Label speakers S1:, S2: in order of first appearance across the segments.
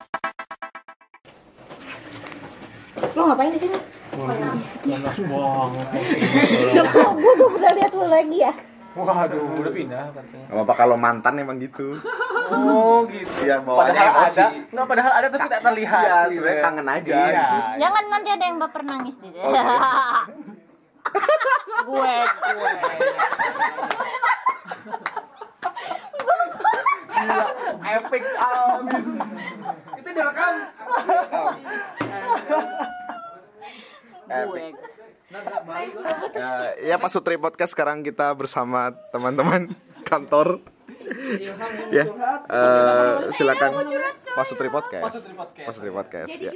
S1: Wah.
S2: Loh, kok gue udah pernah lihat lu lagi ya?
S1: Waduh, udah pindah katanya.
S3: Gak apa-apa kalau mantan emang gitu.
S1: Oh, gitu.
S3: Iya, bawaannya
S1: Padahal
S3: emosi.
S1: ada, no, padahal ada tapi tak terlihat.
S3: Iya,
S1: gitu
S3: sebenarnya
S1: ya.
S3: kangen aja. gitu.
S1: Iya.
S4: Jangan nanti ada yang baper nangis di
S3: Oh,
S4: sini.
S3: iya.
S1: Gue, gue.
S3: Epic abis.
S1: Itu direkam.
S3: Epic. Ya, ya Pak Sutri Podcast sekarang kita bersama teman-teman kantor. ya, eh, silakan Pak Sutri Podcast. Pak Sutri Podcast. Ya.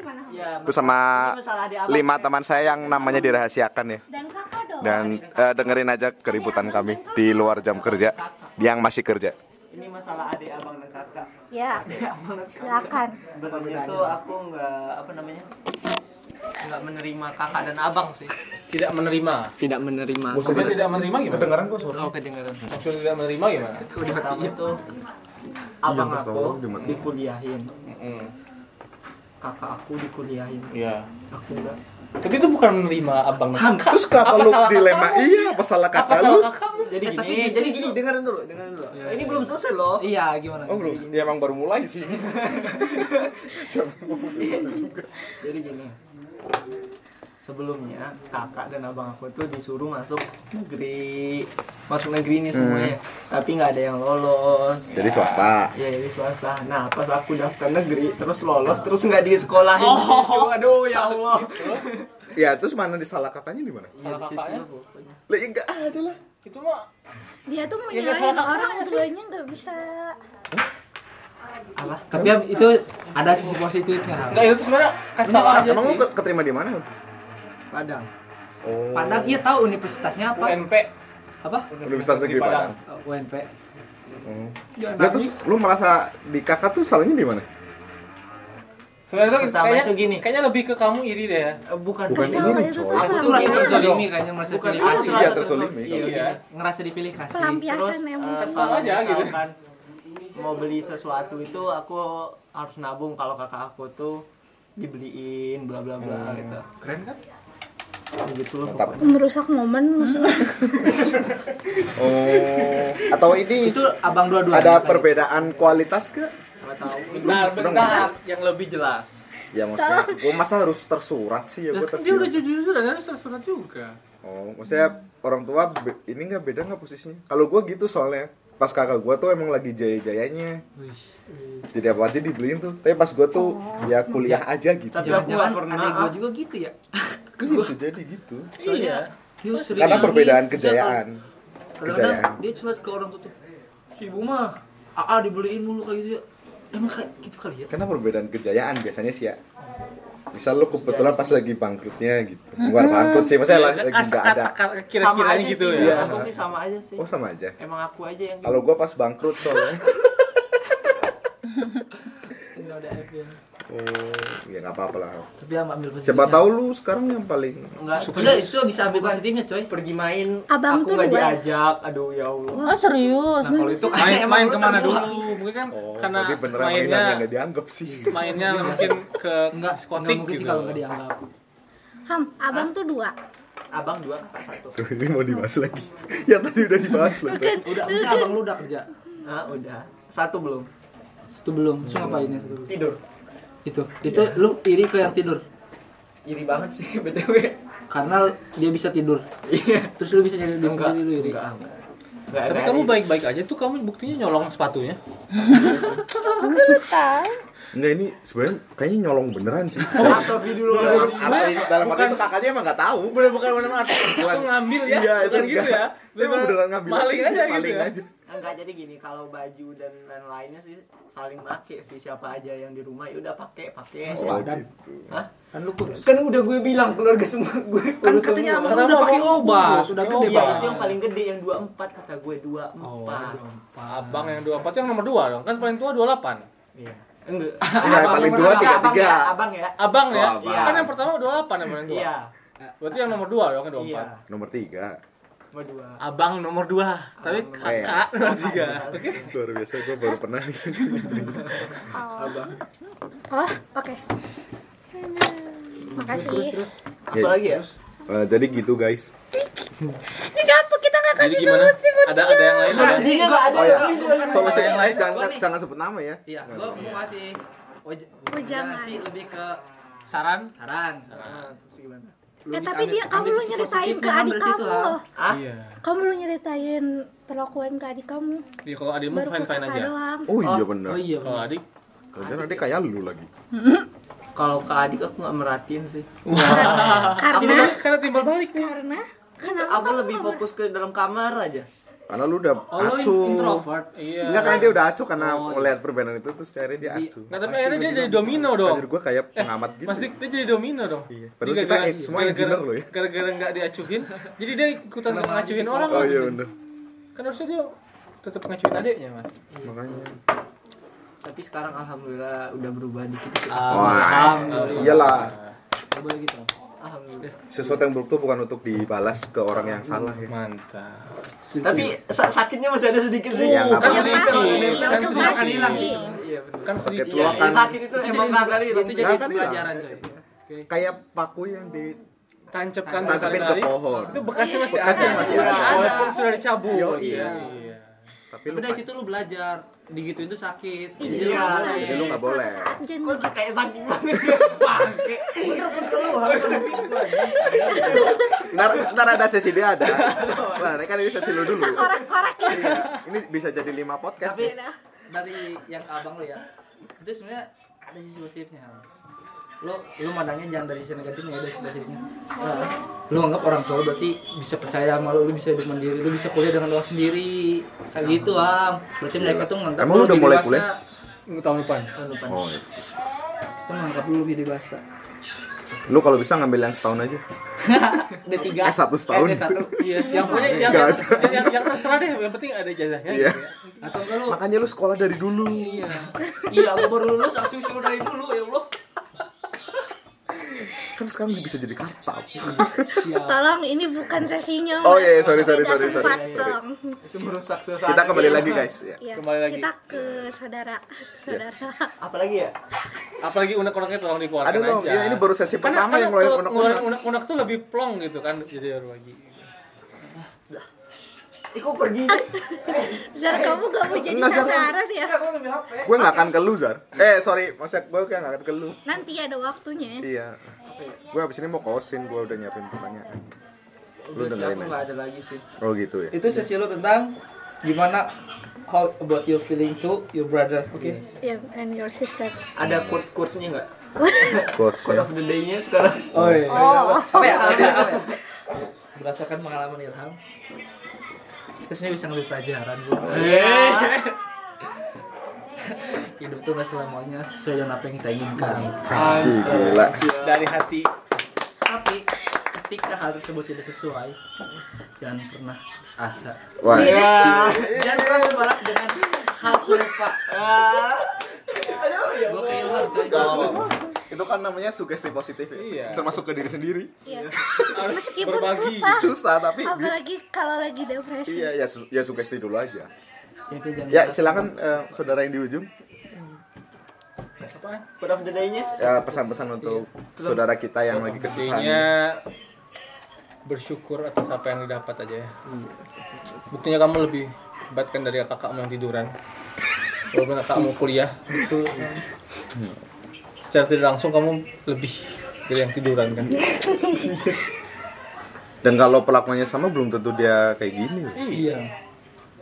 S3: Bersama lima teman saya yang namanya dirahasiakan ya.
S2: Dan kakak dong.
S3: Dan Iya, eh, dengerin aja keributan kami di luar jam kerja yang masih kerja.
S5: ini masalah adik abang dan kakak
S2: Ya, silakan.
S5: sebenarnya tuh aku nggak apa namanya nggak menerima kakak dan abang sih
S1: Tidak menerima.
S5: tidak menerima
S1: Maksudnya tidak menerima gimana?
S3: Kedengaran kok suara.
S5: oh kedengeran
S1: Maksudnya tidak menerima gimana?
S5: aku di pertama tuh abang aku dikuliahin
S1: Mm.
S5: kakak aku dikuliahin
S1: Iya.
S5: aku nggak
S1: Tapi itu bukan menerima abang.
S3: Terus kenapa
S1: Apa
S3: lu
S1: salah
S3: dilema? Iya, apa salah
S1: Apa
S3: kata lu?
S1: salah kakak?
S5: jadi gini, Eh, iya. jadi gini dengerin dulu dengerin dulu ini belum selesai loh
S1: Iya, gimana?
S3: Oh, belum. Ya emang baru mulai sih.
S5: jadi gini sebelumnya kakak dan abang aku tuh disuruh masuk negeri masuk negeri ini semuanya tapi nggak ada yang lolos
S3: Jadi swasta.
S5: Iya ini swasta. Nah pas aku daftar negeri terus lolos terus nggak di sekolahin gitu.
S1: Oh.
S5: Aduh ya Allah.
S3: Ya, terus mana disalah katanya di mana?
S1: Salah kakaknya?
S3: Lah, ya enggak ada lah.
S1: Iya, Itu mah
S2: Dia tuh
S1: Ya, nggak
S2: menyalahin
S1: salah
S2: orang tuanya nggak bisa.
S5: Apa?
S6: Tapi ab- itu ada sisi positifnya.
S1: Enggak, itu sebenarnya kesalahan aja
S3: Emang lu
S1: Iya sih.
S3: ke- keterima di mana?
S5: Padang.
S3: Oh.
S6: Padang iya tahu universitasnya apa?
S1: UNP.
S6: Apa?
S3: Universitas Negeri Padang.
S6: Eh, UNP.
S3: Hmm.
S1: Iya,
S6: Jangan
S3: Lah
S6: nangis.
S3: terus lu merasa di kakak tuh salahnya di mana?
S1: Sebenarnya tuh
S5: Pertama
S1: kayaknya,
S5: itu gini.
S1: kayaknya lebih ke kamu iri deh ya.
S5: Eh, bukan.
S3: Bukan
S5: Bukan.
S3: ini nih,
S2: itu
S3: coy.
S2: tuh
S5: Aku tuh
S6: merasa
S5: gini.
S6: terzolimi kayaknya merasa dipilih
S5: aku salah
S6: kasih.
S3: Iya,
S5: satu
S3: tersolimi.
S5: temen. Iya.
S1: Iya.
S6: Ngerasa dipilih kasih.
S5: Terus
S2: Pelampiasan
S5: eh,
S2: emosi.
S1: Sama
S5: kalau
S1: aja gitu.
S5: misalkan mau beli sesuatu itu aku harus nabung kalau kakak aku tuh dibeliin bla bla bla gitu.
S6: Keren kan?
S5: Begitu loh.
S3: Mantap.
S2: Merusak momen maksudnya.
S3: Oh. Atau ini
S6: Itu abang dua-duanya.
S3: ada
S6: tadi.
S3: perbedaan kualitas ke?
S5: Enggak tahu.
S1: Benar, benar. Yang lebih jelas.
S3: Ya maksudnya gua masa harus tersurat sih ya gua
S1: Kan dia udah
S3: tersurat.
S1: jujur dan harus tersurat juga.
S3: Oh, maksudnya orang tua be- ini nggak beda nggak posisinya? Kalau gua gitu soalnya pas kakak gua tuh emang lagi jaya-jayanya.
S6: Wih.
S3: Tidak apa aja dibeliin tuh. Tapi pas gua tuh ya kuliah aja gitu.
S5: Tapi aku
S6: Jangan-jangan
S5: nggak pernah.
S6: adik gue juga gitu ya.
S3: Kan bisa jadi gitu.
S1: Iya.
S6: Dia sering
S3: Karena
S6: nangis,
S3: perbedaan
S6: dia
S3: kejayaan.
S6: kalau- Kadang-kadang
S3: Kejayaan.
S6: dia cuek ke orang tutup. Si ibu mah AA dibeliin mulu kayak gitu ya. Emang kayak gitu kali ya?
S3: Karena perbedaan kejayaan biasanya sih ya. Misal lu kebetulan pas lagi bangkrutnya gitu. Bukan bangkrut sih, maksudnya lagi nggak ada.
S1: Kata-kata
S5: Sama
S1: kira-kiranya
S5: aja
S1: gitu
S5: sih.
S3: Iya.
S1: ya.
S5: Aku sih sama aja sih.
S3: Oh sama aja.
S5: Emang aku aja yang
S3: Kalau gua pas bangkrut soalnya.
S6: Enggak ada F ya.
S3: Oh, ya nggak apa-apa lah.
S6: Tapi ya ambil positifnya.
S3: Siapa tahu lu sekarang yang paling
S5: enggak
S6: Enggak, itu bisa ambil positifnya, coy.
S5: pergi main
S2: Abang
S5: aku
S2: tuh
S5: nggak
S2: dua.
S5: diajak aduh ya allah
S4: Oh serius?
S6: Nah, kalau itu kan
S1: Main,
S6: emang
S1: main
S6: lu
S1: kemana
S6: terbuka.
S1: dulu? Mungkin kan
S3: Oh,
S1: karena
S3: berarti beneran Iya. mainan
S1: mainnya
S3: yang nggak dianggap sih.
S1: mainnya mungkin ke
S6: Enggak, enggak
S1: skotik
S6: mungkin sih
S1: gitu.
S6: kalau enggak dianggap.
S2: Ham, abang tuh dua.
S5: abang dua kakak satu
S3: Tuh, ini mau dibahas lagi. ya tadi udah dibahas loh. Coy.
S6: Udah, maksudnya abang lu udah kerja.
S5: ah udah satu belum
S6: Satu belum. Terus ngapain ya satu belum?
S5: tidur
S6: Itu. Itu lu iri ke yang tidur.
S5: iri banget sih btw
S6: Karena dia bisa tidur.
S5: iya
S6: Terus lu bisa nyari duit
S5: enggak
S6: sendiri lu iri.
S5: enggak enggak Enggak,
S1: Tapi
S5: enggak
S1: kamu
S5: iri.
S1: baik-baik aja tuh kamu buktinya nyolong sepatunya.
S3: Enggak ini sebenarnya kayaknya nyolong beneran sih.
S5: Oh, Astagfirullah.
S3: Arti, dalam arti itu kakaknya emang nggak tahu.
S1: Bukan bukan benar arti aku ngambil ya,
S3: Iya, itu
S1: bukan gitu ya.
S3: enggak. Dia emang beneran ngambil.
S1: Maling aja gitu.
S3: Maling
S1: ya.
S3: aja.
S5: enggak jadi gini kalau baju dan lain-lainnya sih saling make sih siapa aja yang di rumah ya udah pakai pakai
S3: Oh, gitu.
S5: Hah?
S6: Kan lu kurus.
S5: kan udah gue bilang keluarga semua gue
S6: Kan
S5: urus
S6: katanya
S5: semua.
S6: abang lu udah pakai obat, udah gede
S5: iya
S6: banget.
S5: itu yang paling gede yang 24 kata gue 24
S6: Oh,
S1: Abang yang 24 itu yang nomor 2 dong. Kan paling tua 28.
S5: Iya. Enggak.
S3: Enggak,
S5: Abang
S3: paling
S5: yang
S3: tua
S5: pertama.
S3: tiga,
S5: Abang
S3: tiga.
S5: ya, Abang ya.
S1: Abang ya.
S3: Oh, abang.
S1: Kan yang pertama 28 yang paling tua.
S5: Iya.
S1: Berarti yang nomor 2 dong yang 24.
S5: Iya.
S3: Nomor tiga.
S5: Nomor dua.
S1: Abang nomor 2, tapi
S5: nomor
S1: kakak nomor 3.
S5: Oke.
S3: Luar biasa gue baru pernah nih.
S5: Abang.
S2: Oh, oke. Makasih.
S3: Ya,
S5: Apa lagi ya?
S3: Eh, jadi gitu guys.
S2: Kenapa kita nggak
S1: Jadi
S2: kasih
S1: gimana?
S2: solusi buat
S1: Ada ada yang lain ada.
S5: Aslinya nggak Nah,
S3: Oh
S5: iya. ada.
S3: ya,
S5: tapi gua-
S3: solusi yang lain
S6: Gua
S3: jangan
S6: nih.
S3: jangan sebut nama ya.
S6: Iya, gue mau ngasih waj-
S2: Wejangan.
S6: sih lebih ke
S1: Saran?
S6: saran. Saran. Terus gimana?
S2: Eh
S6: bisa
S2: tapi
S6: ambil-
S2: dia kamu
S6: ambil
S2: lu
S6: sisi
S2: nyeritain ke
S6: positifnya,
S2: adik
S6: ambil situ
S2: kamu
S6: lah.
S2: loh.
S5: Ah,
S1: Iya.
S2: Kamu lu nyeritain perlakuan ke adik kamu.
S1: Iya kalau adikmu
S2: Baru ke
S1: fine fine
S2: kakak
S1: aja.
S2: doang.
S3: Oh iya
S5: Oh,
S3: benar.
S6: Oh iya,
S1: Kalau
S6: bener.
S1: adik,
S3: Kerjaan adik kayak lu lagi.
S5: kalau ke adik aku nggak merhatiin sih.
S3: Ah,
S2: Karena
S1: timbal karena timbal balik nih.
S2: karena kenapa
S5: Aku
S2: kamu
S5: lebih
S2: nggak
S5: fokus ke dalam kamar aja.
S3: Karena lu udah
S6: Oh, lo
S3: acuh.
S6: introvert.
S1: Iya.
S3: Enggak karena dia udah acuh karena
S6: Oh, iya.
S3: melihat perbedaan itu terus akhirnya dia
S6: Jadi-
S3: acuh.
S1: Nah tapi akhirnya dia jadi domino dong.
S3: Anjir gue kayak pengamat gitu.
S1: Pasti dia jadi domino dong.
S3: Iya.
S1: Dia
S3: Padahal kita
S1: gara-gara-
S3: eh, semua
S1: gara-gara-
S3: engineer loh ya.
S1: Gara-gara nggak diacuhin, jadi dia ikutan
S6: Kenapa
S1: ngacuhin
S6: sih?
S1: orang.
S3: Oh iya benar.
S1: Kan harusnya dia tetap ngacuhin adiknya mas.
S3: Makanya.
S5: Tapi sekarang alhamdulillah udah berubah dikit.
S3: Wah. Iyalah.
S6: Boleh gitu.
S5: Alhamdulillah.
S3: Sesuatu yang buruk tuh bukan untuk dibalas ke orang yang salah ya.
S1: Mantap.
S5: Tapi sa- sakitnya masih ada sedikit sih.
S3: Iya, nggak
S1: Kan
S3: apa-apa.
S1: sedikit,
S2: pasti,
S1: kan
S2: itu
S1: sedikit.
S2: pasti.
S5: Iya, bener.
S1: Kan
S3: Sakit
S1: sedikit.
S5: Iya,
S3: luapan.
S5: sakit itu emang nggak kali.
S6: Itu jadi
S3: Nggak akan hilang.
S6: pelajaran coy.
S3: Kayak paku yang di
S1: Tancapkan
S3: Tancapin ke
S1: berkali-kali.
S3: pohon.
S1: Itu bekasnya masih ada.
S3: Bekasnya masih ada.
S1: Walaupun sudah dicabut.
S3: Yo, iya.
S1: Iya.
S3: Tapi lu
S6: Tapi dari situ lu belajar. Digitu itu sakit.
S2: Ih,
S5: Jadi
S2: jadi
S5: lu
S2: nggak
S5: nggak
S2: boleh.
S3: jadi Ya, lu nggak boleh.
S2: Suatu saat jangan
S5: Kok Iya. kayak sakit banget.
S3: Ntar, ntar ada sesi dia ada. Wah, ini kan ini sesi lu dulu.
S2: korak-korak ya.
S3: Iya, ini bisa jadi lima podcast.
S6: Tapi
S3: nih.
S6: dari yang ke abang lu ya, itu sebenarnya ada sisi positifnya. Ham. Lu lu mandangnya jangan dari sisi negatifnya ya, dari sisi positifnya. Nah, lu anggap orang tua berarti bisa percaya sama lu, lu bisa hidup mandiri, lu bisa kuliah dengan doa sendiri. Kayak gitu, Am. Berarti mereka tuh nganggap
S3: Emang lu udah
S6: lebih
S3: mulai
S6: dewasa.
S3: kuliah?
S1: Nggak Tahun depan.
S6: Tahun depan.
S3: Oh, iya.
S6: Itu menganggap lu lebih dewasa.
S3: lu kalau bisa ngambil yang setahun aja.
S6: D3.
S3: Eh, satu setahun.
S6: Eh, D1. Iya.
S1: Yang punya yang
S3: Nggak
S1: yang,
S3: ada.
S1: yang, yang, yang terserah deh. Yang penting ada ijazahnya.
S3: Iya.
S6: Atau enggak lu?
S3: Makanya lu sekolah dari dulu.
S6: Iya. Iya, aku baru lulus langsung suruh dari dulu ya Allah.
S3: Kan sekarang bisa jadi kartap.
S6: Siap.
S2: Tolong ini bukan sesinya.
S3: Oh,
S2: Mas.
S3: iya, iya, sorry, sorry,
S2: Beda
S3: sorry,
S2: tempat,
S3: sorry.
S2: Tolong.
S5: Itu merusak suasana.
S3: Kita kembali lagi guys. Ya.
S2: Iya,
S1: Kembali lagi.
S2: Kita ke saudara.
S3: Iya.
S2: Saudara.
S5: Apalagi ya?
S1: Apalagi unek-uneknya tolong dikeluarkan
S3: Aduh dong,
S1: aja.
S3: ya ini baru sesi
S1: Karena-
S3: pertama
S1: karena
S3: yang ngeluarin
S1: kalau
S3: unek-unek.
S1: ngeluarin unek-unek tuh lebih plong gitu kan. Jadi baru lagi.
S5: Ih, kok pergi sih?
S2: Zar kamu gak mau jadi
S3: Enggak, Zar.
S2: sasaran ya?
S5: Aku lebih HP.
S3: Gue gak akan ke lu, Zar. Eh, sorry, maksudnya gue kayak gak akan ke lu.
S2: Nanti ada waktunya.
S3: Iya. Gue abis ini mau kosin, gue udah nyiapin pertanyaan. Lu
S5: Udah sih,
S3: dengerin
S5: aku
S3: aja.
S5: nggak ada lagi sih.
S3: Oh gitu ya.
S6: itu sesi lu tentang gimana how about your feeling to your brother oke
S2: Yeah, and your sister.
S3: Hmm.
S5: Ada quote quotesnya nggak?
S3: Quotes
S5: Quote
S3: ya.
S5: of the day-nya sekarang.
S6: oh iya
S2: Oh,
S6: apa ya apa ya berdasarkan pengalaman Ilham terus ini bisa ngambil pelajaran gua iya. hidup tuh gak selamanya sesuai dengan apa yang kita inginkan
S3: Kasih gila.
S1: Dari hati.
S6: tapi ketika hal tersebut tidak sesuai jangan pernah putus asa
S3: Wah,
S6: jangan pernah berbalas dengan hal serupa gua kayak Ilham coy.
S3: Kalau- itu kan namanya sugesti positif ya.
S1: Iya.
S3: Termasuk ke diri sendiri.
S2: iya.
S1: Harus
S2: Meskipun
S1: berbagi.
S2: susah.
S3: Susah tapi
S2: Apalagi kalau lagi depresi.
S3: Iya, ya, su- ya sugesti dulu aja.
S6: Jadi jangan
S3: Ya, silakan eh, saudara yang di ujung
S1: Apaan?
S5: Quote of the day-nya?
S3: ya, pesan-pesan untuk saudara kita yang lagi
S1: Intinya
S3: kesusahan.
S1: bersyukur atas apa yang didapat aja ya. Buktinya kamu lebih hebat kan dari kakakmu yang tiduran. Walaupun kakakmu kuliah itu secara tidak langsung kamu lebih dari yang tiduran kan.
S3: Dan kalau pelakuannya sama belum tentu dia kayak gini. loh.
S6: iya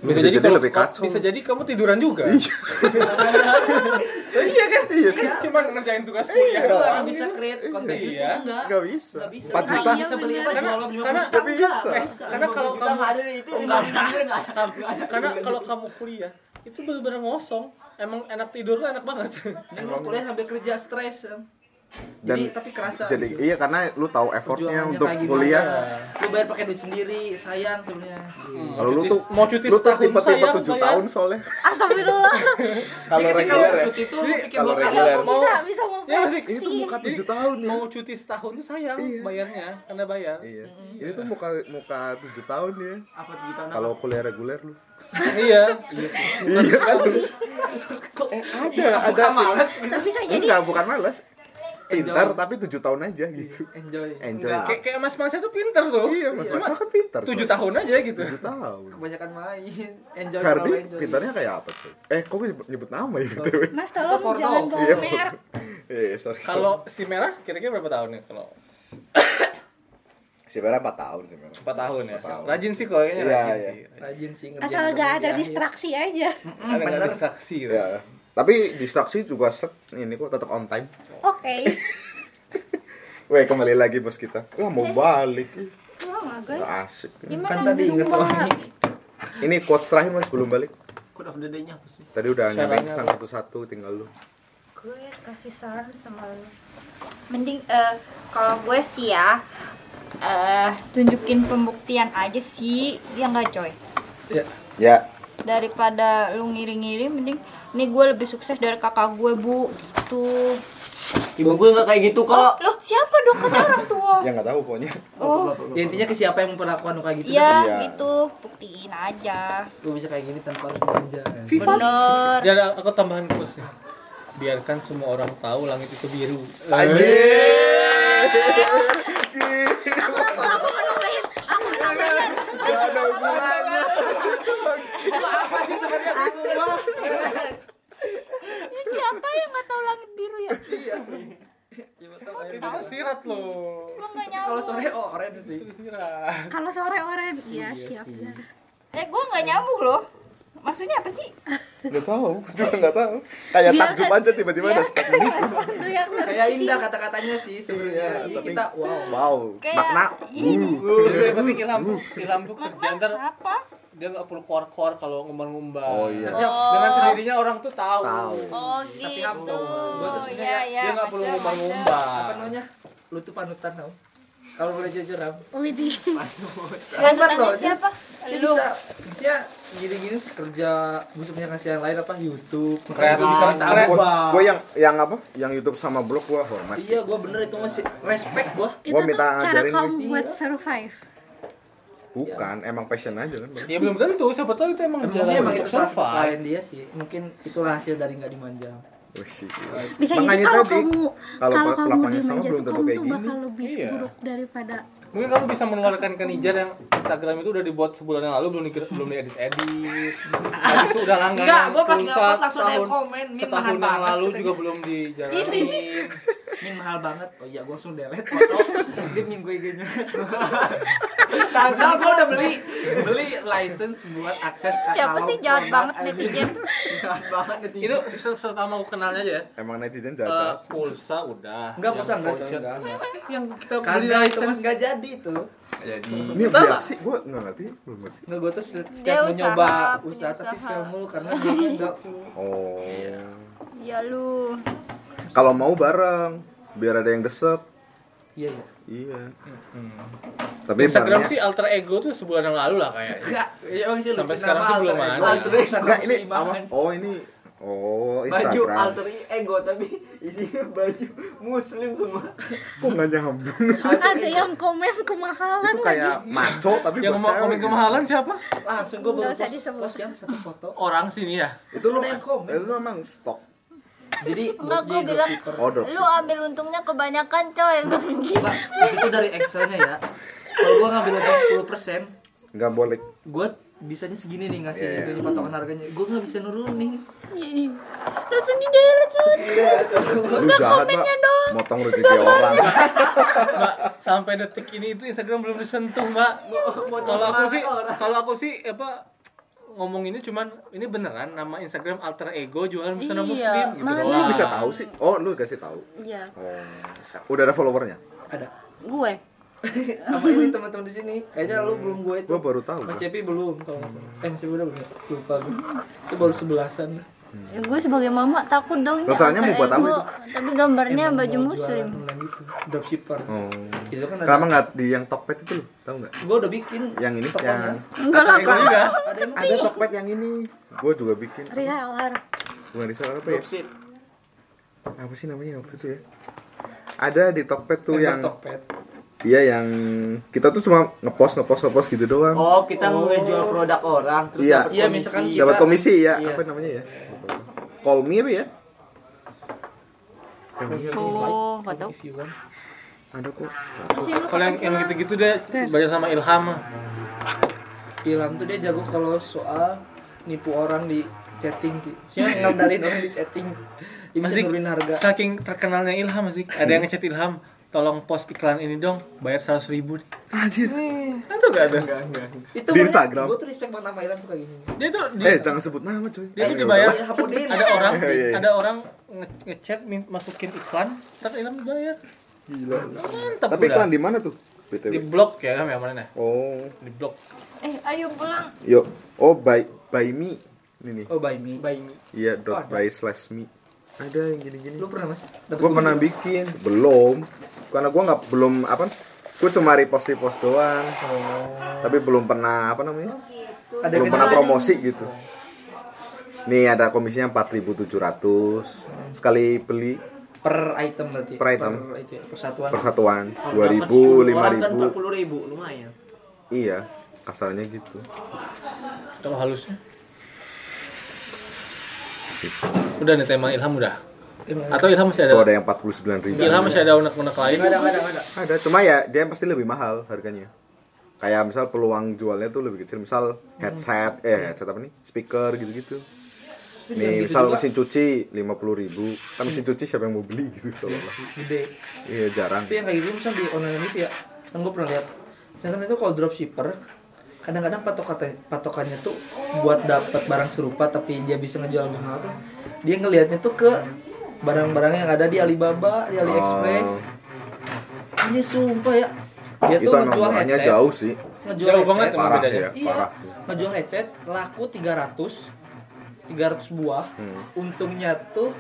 S3: Bisa jadi
S1: kamu-
S3: lebih kacau.
S1: Bisa jadi kamu tiduran juga. iya kan? Iya sih. Cuma ngerjain tugas
S3: Iya.
S1: kuliah.
S6: lu
S1: doang.
S6: gak bisa create konten
S1: Iya.
S6: YouTube enggak
S3: Enggak bisa.
S6: Nggak bisa.
S3: 4 juta.
S2: Ah, iya.
S6: bisa beli apa
S1: Karena-
S6: jual beli apa.
S1: karena-
S3: Nggak bisa.
S1: Eh, karena kalau
S5: Kita
S1: kamu
S5: nggak ada nih, itu di mana nggak ada.
S3: Iya.
S1: karena kalau kamu kuliah itu benar-benar ngosong emang enak tidur tuh enak banget
S6: Ini lu kuliah sambil kerja stres em.
S3: Dan
S6: jadi tapi kerasa
S3: jadi
S6: gitu.
S3: iya karena lu tahu effortnya
S6: Perjuangannya
S3: Iya, untuk
S6: kayak gimana.
S3: kuliah.
S6: lu bayar pakai duit sendiri sayang sebenarnya
S3: Kalau lu tuh
S1: mau cuti
S3: lu tuh
S1: setahun
S3: tiba-tiba
S1: sayang, ya?
S3: 7
S1: sayang.
S3: tahun soalnya.
S2: Astagfirullah.
S3: Kalau reguler ya.
S6: cuti Iya, tuh bikin
S3: Kalau
S6: gua-
S3: reguler.
S1: Mau-
S2: bisa
S3: Ya,
S2: bisa
S1: Iya, Zik.
S3: Ini tuh
S2: memproduksi.
S3: muka
S1: Jadi-
S3: 7 tahun ya.
S1: mau cuti setahun tuh sayang
S3: Iya.
S1: bayarnya karena bayar
S3: Iya. Ini tuh muka muka 7 tahun ya.
S6: apa tuh jutaan
S3: Kalau kuliah reguler lu.
S1: iya
S3: Iya kan? Eh ada ada
S6: males
S2: Tapi bisa jadi
S3: Enggak, bukan malas. pintar tapi tujuh tahun aja gitu
S5: enjoy
S3: enjoy
S1: Kayak kayak Mas Mansa tuh pinter tuh.
S3: iya mas Mansa kan pintar
S1: Oh, Tujuh
S3: coy.
S1: tahun aja gitu.
S3: tujuh tahun
S5: kebanyakan main enjoy
S3: Ferdi
S5: kalau enjoy.
S3: pintarnya kayak apa tuh eh kok gue nyebut- nyebut nama ya gitu
S2: Mas tolong
S6: Atau Forno.
S2: jangan bawa
S3: Iya.
S2: merek.
S3: iya sorry sorry.
S1: Kalau si merah kira-kira berapa tahun ya? Kalau
S3: si Vera empat tahun sih Vera.
S1: empat tahun ya.
S3: Empat tahun.
S1: Rajin sih kalau kayaknya
S3: Iya,
S1: rajin
S3: iya.
S1: sih.
S6: Rajin sih ngerjain
S2: Asal
S6: tugas
S2: gak ada
S6: di akhir.
S2: distraksi aja.
S1: Ada nggak
S6: bener.
S1: distraksi gitu.
S3: ya tapi distraksi juga set ini kok tetap on time
S2: Oke.
S3: Weh kembali lagi bos kita lah mau balik ih,
S2: Wah, oh nggak, guys.
S3: nggak asik
S6: Kan
S2: Gimana
S6: tadi
S2: nih?
S6: inget lagi.
S3: ini quotes terakhir mas belum balik
S5: Code of the day-nya apa sih?
S3: tadi udah nyampe
S1: Sarannya
S3: sang satu-satu tinggal lu
S7: gue kasih saran sama lu mending eh, kalau gue sih ya eh tunjukin pembuktian aja sih ya nggak coy
S3: ya
S7: daripada lu ngiri-ngiri mending nih gue lebih sukses dari kakak gue bu gitu
S5: Ibu gue nggak kayak gitu
S7: oh
S5: kok.
S7: loh siapa dong katanya orang tua
S3: yang Ya, nggak tahu pokoknya
S7: oh
S6: Ya intinya ke siapa yang memperlakukan lu kayak gitu
S7: iya
S3: Iya.
S7: gitu buktiin aja
S6: lu bisa kayak gini tanpa harus belanja.
S7: bener
S1: Jadi aku tambahan quotes ya. Biarkan semua orang tahu langit itu biru.
S3: Anjir.
S2: Aku aku mau nambahin, aku mau nambahin.
S3: Gak ada hubungannya.
S7: Ini Ya, siapa yang nggak tahu langit biru ya
S1: Itu sirat loh.
S7: gue nggak
S6: Kalau
S7: nyambung
S6: sore oh, orange sih.
S1: Sirat.
S2: Kalau sore oren, iya siap Zara.
S7: eh gue nggak nyambung loh maksudnya apa sih
S3: Gak tahu, juga gak tahu. Kayak
S2: Biarkan-
S3: takjub aja tiba-tiba ada step ini.
S2: Pandu yang
S6: Kayak indah kata-katanya sih
S5: Iya,
S6: sebenarnya. Ini kita wow.
S3: Iya, Wow,
S7: Kayak-
S3: makna. Uh.
S1: Tapi kilam kilam tuh kerja
S7: makna
S1: ntar
S7: apa
S1: dia nggak perlu keluar-keluar kalau ngumbar-ngumbar.
S3: Oh iya.
S1: Ya, dengan sendirinya orang tuh tahu.
S3: Tahu.
S7: Oh gitu.
S1: Gua tuh sebenarnya
S7: Ya ya.
S1: dia nggak perlu
S7: macam,
S1: ngumbar-ngumbar.
S6: Apa
S5: iya,
S6: namanya? Lu tuh panutan tau. Kalau boleh jujur Ram.
S2: Widi.
S7: macam. Lanjutannya
S6: loh,
S7: siapa?
S6: Dia
S7: Lu.
S6: bisa bisa gini-gini kerja busuknya kasih yang lain apa YouTube
S1: Kreatif bisa
S6: tambah.
S1: kreatif.
S3: Gue yang yang apa? Yang YouTube sama blog gue hormat.
S6: iya gua bener itu masih respect gua
S2: Itu tuh
S3: minta
S2: cara
S3: ajarin
S2: kamu buat survive.
S3: Bukan, emang passion aja kan. Bang.
S1: Ya belum tentu, siapa tahu itu emang
S6: Mungkin
S1: jalan
S6: emang
S1: untuk
S6: itu
S1: survive.
S6: Iya, survive dia sih. Mungkin itu hasil dari nggak dimanja.
S3: Wih, sih.
S2: Bisa jadi
S3: Makanya
S2: kalau
S3: tadi,
S2: kamu
S3: kalau
S2: kalau
S3: pel-
S2: kamu
S3: pelakuannya sama
S2: dimanja
S3: belum
S2: tuh
S3: tentu
S2: kamu
S3: kayak
S2: tuh
S3: gini.
S2: bakal lebih
S1: Iya.
S2: buruk daripada
S1: Mungkin kamu bisa menularkan ke Nijar yang Instagram itu udah dibuat sebulan yang lalu belum dikira, belum diedit edit. Habis itu udah langganan.
S6: Enggak, gua pas
S1: pulsa
S6: ngupload langsung ada yang
S1: setahun-
S6: komen, "Min,
S1: Setahun
S6: mahal
S1: yang
S6: banget."
S1: lalu juga belum dijalanin.
S6: Ini mahal banget. Oh iya, gua langsung delete foto. Dia minggu IG-nya. Tanggal gua udah beli beli license buat akses
S7: Siapa
S6: katalog
S7: sih jahat
S6: produk.
S7: banget netizen?
S6: Jahat banget netizen.
S1: itu se- pertama aku kenalnya aja ya.
S3: Emang netizen
S1: Eh,
S3: jahat.
S1: pulsa udah.
S6: Enggak,
S1: Yang
S6: pulsa enggak,
S1: voucher.
S6: coy, enggak,
S1: Yang kita beli
S6: Kagak itu mas
S1: license.
S6: nggak jadi itu.
S1: Jadi
S3: Ini
S1: Pertama,
S3: dia sih, gue nggak ngerti, belum ngerti.
S6: Nggak gua tuh
S7: Dia
S6: setiap mau
S7: usaha,
S6: nyoba
S7: punya
S6: usaha tapi
S7: usaha.
S6: fail mulu karena dia enggak
S3: Oh.
S7: Ya lu.
S3: Kalau mau bareng, biar ada yang desek.
S6: Iya iya.
S3: Iya.
S1: hmm.
S3: Tapi
S1: Instagram
S3: barangnya-
S1: sih alter ego tuh sebulan yang lalu lah kayaknya.
S6: Enggak, ya emang sih lucu
S1: Sampai sekarang sih
S6: nama
S1: belum
S6: alter
S1: ada.
S6: ego. Alter ego,
S3: Enggak ini
S6: Muslimahan.
S3: apa? Oh ini Oh
S5: Baju
S3: Instagram
S5: alter
S6: eh,
S5: ego tapi isinya baju muslim semua.
S3: Kok nggak nyambung
S2: terus ada yang komen kemahalan
S3: Itu kayak maco tapi
S1: Yang
S3: buat
S1: mau
S3: cewek.
S1: komen kemahalan siapa?
S6: Langsung gua baru
S2: Nggak usah
S6: post-
S2: disebut.
S6: post yang satu foto.
S1: Orang sini ya.
S3: Itu lu
S6: Ada yang komen.
S3: Itu lu emang stok
S6: Jadi
S4: Enggak,
S6: bagi
S4: gua bilang,
S6: dropshipper.
S3: Oh dok
S4: Lu ambil untungnya kebanyakan coy.
S6: Enggak, itu dari Excelnya ya. Kalau gua ngambil untung 10
S3: Nggak boleh
S6: gua bisanya segini nih ngasih
S3: Iya, iya.
S6: itunya patokan harganya. Gua nggak bisa nurunin.
S7: Langsung di delete lu.
S3: Lu jahat pak Motong rezeki orang
S1: Mbak, sampai detik ini itu Instagram belum disentuh, Mbak. Kalau aku sih, kalau aku sih apa ngomonginnya cuman ini beneran nama Instagram alter ego jualan
S4: Iya,
S1: busana muslim gitu
S4: makanya.
S1: doang.
S3: Lu bisa tahu sih Oh lu kasih tahu
S4: Iya,
S3: Oh Udah ada followernya
S6: Ada.
S4: gue.
S6: Sama ini teman-teman di sini. Kayaknya lu belum gua itu.
S3: Gue baru tahu gua.
S6: Mas Cepi belum kalau nggak salah. Eh, Mas Cepi udah belum? Lupa gua. Itu baru sebelasan.
S4: Ya, gue sebagai mama takut dong. ini
S3: Rasanya mau
S4: alter
S3: buat apa
S4: ego.
S3: itu?
S4: Tapi gambarnya
S6: Emang
S4: baju
S6: mau
S4: muslim.
S6: jualan online gitu. Dropshipper.
S3: Oh
S6: Itu kan ada.
S3: Kenapa nggak di yang Tokped itu lu Tahu nggak
S6: Gua udah bikin.
S3: Yang ini
S6: Tokonya.
S3: yang
S4: Enggak lah,
S1: Ego juga.
S6: Ada yang
S3: Ada Tokped yang ini Gue juga bikin
S2: Reseller.
S3: Bukan riset apa ya
S5: Dropship.
S3: Apa sih namanya waktu itu ya Ada di Tokped tuh
S6: Member
S3: yang
S6: Tokped.
S3: Iya yang kita tuh cuma ngepost ngepost ngepost gitu doang.
S5: Oh, kita ngejual produk orang terus
S3: Iya.
S5: dapat
S6: Iya,
S5: komisi.
S6: misalkan kita-
S3: Dapat komisi iya. ya,
S6: Iya.
S3: apa namanya ya? Call me apa ya?
S4: Oh, nggak tahu.
S3: Ada kok.
S2: Sih, lu
S1: Kalau yang, yang gitu-gitu deh belajar sama Ilham.
S6: Ilham tuh dia jago kalau soal nipu orang di chatting sih. Maksudnya ngandalin orang di chatting. Dia bisa
S1: Masih-
S6: nurunin harga.
S1: Saking terkenalnya Ilham sih. Ada yang ngechat Ilham, tolong post iklan ini dong, bayar 100 ribu. Anjir. Itu gak ada.
S6: Itu
S3: Di Instagram.
S6: Gue tuh respect banget sama Ilham tuh kayak gini.
S1: Dia tuh dia,
S3: Eh jangan sebut nama
S1: dia
S3: cuy.
S1: tuh
S3: Ayo,
S5: Iya.
S1: dibayar.
S3: udah.
S6: Ilham Udin.
S1: Ada orang,
S3: Iya, iya.
S1: ada orang nge- ngechat min- masukin iklan, terus Ilham dibayar.
S3: Gila.
S1: Mantap
S3: Tapi
S1: udah.
S3: iklan di mana tuh?
S1: di
S3: BTW.
S1: blok ya Ilham ya mana ya?
S3: Oh,
S1: Di blok.
S7: Eh, ayo pulang.
S3: yuk. Oh, by by me. Ini nih.
S6: Oh, by me.
S5: By me.
S3: Iya, dot by slash me. Ada yang gini-gini.
S6: Lu pernah Mas?
S3: Gue pernah bikin, belum. Karena gue nggak belum apa? Gue cuma repost repost doang. Tapi belum pernah apa namanya?
S6: Ada
S3: belum
S6: kenal
S3: pernah
S6: ada-
S3: promosi gitu. Nih ada komisinya 4.700 sekali beli
S6: per item berarti.
S3: Per item.
S6: Per itu ya, persatuan.
S3: persatuan
S5: Kalau Iya, dapat
S3: 2000,
S5: 10 orang kan
S3: 5000.
S5: 40 ribu, lumayan.
S3: Iya, kasarnya gitu.
S1: Kalau halusnya. Udah nih tema Ilham udah. Atau Ilham masih ada?
S3: Tuh ada yang 49.000.
S1: Ilham masih ada unek-unek lain.
S6: Ada ada ada.
S3: Ada, cuma ya dia pasti lebih mahal harganya. Kayak misal peluang jualnya tuh lebih kecil, misal headset, eh headset apa nih? Speaker gitu-gitu. Nih, misal mesin cuci 50.000, kan mesin cuci siapa yang mau beli gitu kalau nggak.
S6: Gede.
S3: Iya, jarang.
S6: Tapi yang kayak gitu misalnya di online itu ya, yang gue pernah lihat. Misalnya itu kalau dropshipper, kadang-kadang patokan patokannya tuh buat dapat barang serupa tapi dia bisa ngejual lebih mahal. tuh, Dia ngelihatnya tuh ke barang-barang yang ada di Alibaba, di AliExpress. Ini sumpah ya. Dia
S3: Oh. Itu
S6: tuh
S3: emang
S6: ngejual
S3: murahnya
S6: headset,
S3: jauh sih.
S6: ngejual
S1: Jauh
S6: headset,
S1: banget emang
S3: Parah
S1: bedanya.
S3: ya,
S6: Iya,
S3: parah.
S6: ngejual headset laku 300 300 buah.
S3: Hmm.
S6: Untungnya tuh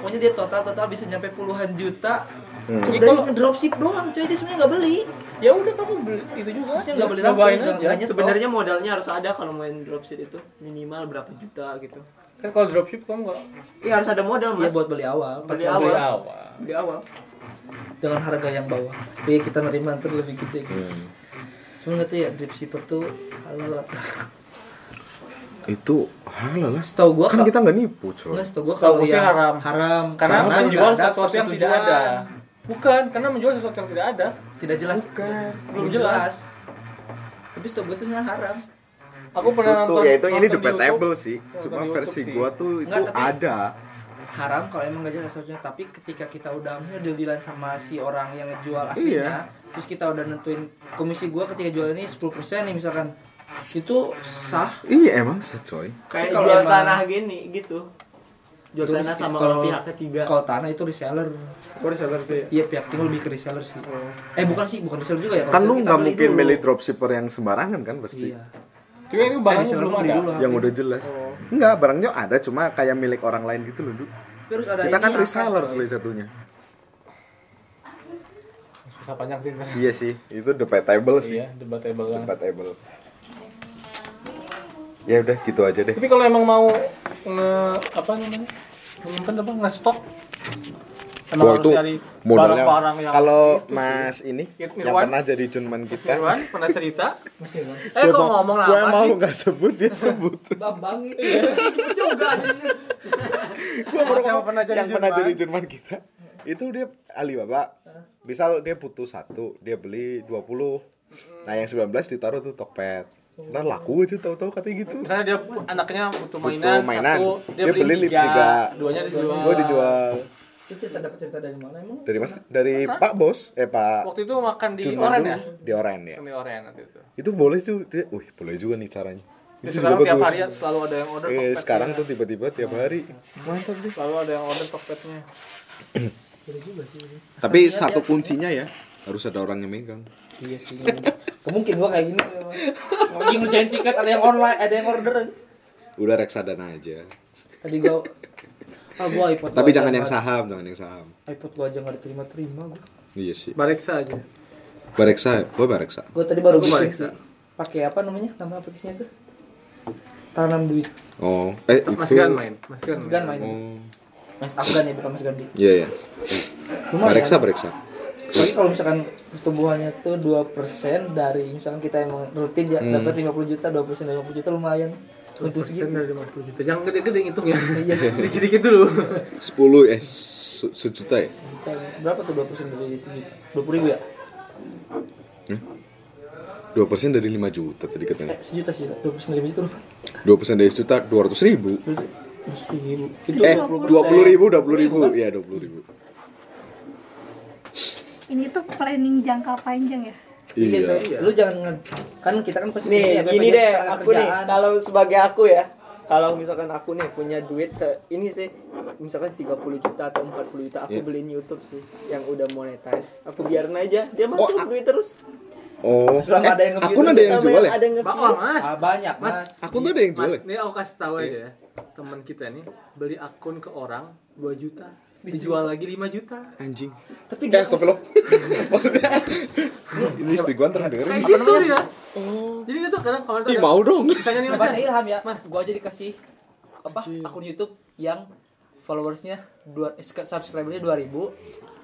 S6: pokoknya dia total total bisa nyampe puluhan juta.
S3: Hmm.
S6: Cuma dari ngedropship doang, cuy dia sebenarnya nggak beli.
S1: Ya udah kamu beli itu juga.
S6: Maksudnya nggak beli langsung,
S1: Cobain aja.
S6: nggak- nggak nyetok.
S5: Ya, Sebenarnya modalnya harus ada kalau main dropship itu minimal berapa juta gitu.
S1: Kan kalau dropship kamu nggak
S5: Iya harus ada modal
S6: Iya
S5: mas.
S6: buat beli awal,
S5: Beli
S6: pakai
S1: beli
S5: awal.
S1: awal.
S5: di awal.
S6: dengan harga yang bawah. Jadi kita nerima ntar lebih gede. gitu.
S3: Hmm.
S6: Cuma nggak tahu ya dropshipper tuh halal atau
S3: Itu halal lah.
S6: setahu gua
S3: Kan
S6: kalau
S3: kita nggak nipu, coy.
S6: nggak setahu gua
S1: Setahu
S6: kalau
S1: gua sih
S6: yang
S1: haram.
S6: haram
S1: Karena menjual
S6: nggak ada
S1: sesuatu yang tidak ada.
S6: persetujuan.
S1: Bukan, karena menjual sesuatu yang tidak ada.
S6: Tidak jelas.
S3: Bukan.
S6: Belum jelas. Tapi setahu gua tuh sebenarnya haram.
S1: Aku pernah
S3: itu
S1: nonton.
S3: ya itu ini
S1: nonton di
S3: debatable
S1: YouTube.
S3: sih.
S1: Nonton
S3: Cuma
S1: di YouTube
S3: versi
S1: sih.
S3: gua tuh itu
S6: Nggak, tapi-
S3: ada.
S6: Haram kalau emang nggak jelas sesuatunya. Tapi ketika kita udah ambil dealan sama si orang yang ngejual aslinya,
S3: Iya.
S6: terus kita udah nentuin komisi gua ketika jual ini 10% nih misalkan. Itu sah
S3: Iya emang sih, coy.
S5: Kayak
S6: kalau
S5: jual
S6: emang-
S5: tanah gini gitu. Jual
S6: Terus
S5: tanah sama orang
S6: kalau-
S5: pihak ketiga.
S6: kalau tanah itu reseller
S3: Oh,
S5: Kalau seller tuh ya.
S6: iya pihak tinggi lebih ke reseller sih eh bukan sih bukan reseller juga ya
S3: Kan
S6: kalau
S3: lu
S6: kita
S3: nggak
S6: beli
S3: mungkin
S6: dulu.
S3: milih dropshipper yang sembarangan kan pasti.
S6: iya
S1: Cuma ini
S6: eh,
S1: barangnya
S6: reseller
S1: belum
S6: belum
S1: ada.
S6: dulu
S3: Yang udah jelas. Enggak, barangnya ada cuma kayak milik orang lain gitu loh, Du.
S6: terus ada
S3: Kita
S6: ini
S3: kan
S6: akad,
S3: reseller
S6: coy.
S3: sebagai satunya.
S1: Susah panjang sih.
S3: Iya sih, itu debatable sih.
S1: Iya, debatable banget.
S3: Debatable. Ya udah gitu aja deh.
S1: Tapi kalau emang mau nge apa namanya? Menyimpan apa nge-stok emang
S3: Wah
S1: harus
S3: itu
S1: cari
S3: modalnya.
S1: barang-barang yang
S3: Kalau Mas ini
S1: Hit me
S3: yang
S1: one.
S3: pernah jadi junman kita.
S1: Irwan pernah cerita? eh
S3: Gue
S1: kok ngomong lama
S3: mau
S1: sih?
S3: nggak sebut dia sebut.
S6: bambang itu
S3: Gua baru
S1: Siapa
S3: ngomong,
S1: pernah jadi
S3: yang pernah
S1: Jerman?
S3: jadi Jerman kita itu dia Alibaba misal dia butuh satu dia beli 20 nah yang 19 ditaruh tuh Tokped ntar laku aja tahu-tahu katanya gitu
S1: Misalnya dia anaknya butuh mainan,
S3: butuh mainan
S1: satu, dia,
S3: dia, beli lip tiga
S1: duanya dijual.
S3: gue dijual
S6: Itu cerita dapat cerita dari mana emang
S3: dari mas dari Pak Bos eh Pak
S1: Waktu itu makan di
S3: Junman
S1: Oren
S3: dulu.
S1: ya?
S3: di Oren ya
S1: Makan Di Oren waktu itu.
S3: itu boleh tuh dia, wih boleh juga nih caranya
S1: Terus
S3: itu juga
S1: sekarang tiap
S3: bagus.
S1: hari ya selalu ada ya? yang order
S3: eh,
S1: Tokped-nya.
S3: sekarang tuh tiba-tiba tiap hari mantap deh
S1: selalu ada yang order tokpetnya.
S3: tapi satu kuncinya ya harus ada orang yang megang
S6: iya sih kemungkin gua kayak gini mungkin ngerjain tiket ada yang online ada yang order
S3: udah reksadana aja
S6: tadi gua ah gua iPod
S3: Tapi
S6: gua
S3: jangan
S6: aja
S3: yang
S6: nggak-
S3: saham, jangan yang saham.
S6: iPod gua aja nggak diterima terima gua
S3: Iya sih.
S1: Balik saja.
S3: Bareksa, gue bareksa.
S6: gua tadi baru
S5: Gua
S6: gua
S5: balik, Sa.
S6: pakai apa namanya nama aplikasinya tuh tanam duit
S3: Oh, eh itu.
S1: Mas Gan main. Mas Gan.
S6: Mas
S1: main.
S6: Gan main
S3: Oh,
S6: Mas Afgan ya bukan Mas Gandhi
S3: iya ya.
S6: Lumayan.
S3: Bareksa, bareksa.
S6: Tapi kalau misalkan pertumbuhannya tuh 2% dari misalkan kita emang rutin ya
S3: Hmm.
S6: dapat 50 juta, 2% dari 50 juta lumayan. Untuk
S1: Persen
S6: segitu.
S1: dari 50 juta. Jangan gede-gede ngitungnya.
S6: Iya.
S1: Dikit-dikit ya. dulu.
S3: 10 eh s- se- sejuta ya?
S5: Berapa tuh 20% dari sejuta? 20 ribu ya?
S3: 2% dari 5 juta tadi katanya.
S5: Eh, sejuta sejuta. 20% ribu itu berapa?
S3: 2% dari sejuta 200 ribu.
S5: 20 ribu. Itu
S3: Eh,
S5: 20%.
S3: 20 ribu, 20 ribu. Iya, 20 ribu.
S2: Ini tuh planning jangka panjang ya.
S3: Iya.
S6: Lu jangan nge- kan kita kan pasti
S5: Nih,
S6: punya BPJS
S5: gini deh,
S6: ketenagakerjaan.
S5: aku nih, kalau sebagai aku ya, kalau misalkan aku nih punya duit eh, ini sih misalkan 30 juta atau 40 juta aku
S3: Iya.
S5: beliin YouTube sih yang udah monetize. Aku biarin aja dia masuk
S3: Oh, a-
S5: duit terus.
S3: Oh,
S6: Selama ada yang nge-view
S3: akun ada yang
S5: Sama
S3: jual ya?
S5: Ada yang
S1: Bakal
S5: nge-view.
S1: oh, mas.
S6: Ah, banyak, Mas.
S1: Mas,
S3: Akun tuh ada yang jual
S1: Mas,
S3: ya?
S1: ini aku kasih tahu aja ya. Teman kita nih beli akun ke orang 2 juta, dijual lagi 5 juta.
S3: Anjing.
S5: Tapi
S3: Eh,
S5: dia
S3: astagfirullah. Maksudnya ini istri gua ntar denger.
S1: Kayak gitu dia. Jadi dia tuh kadang kalau
S3: Oh. Ih, mau dong.
S1: Misalnya nih Mas.
S6: Mas
S1: ya.
S6: Ilham ya, gua aja dikasih apa akun YouTube yang followersnya dua eh, subscribernya 2000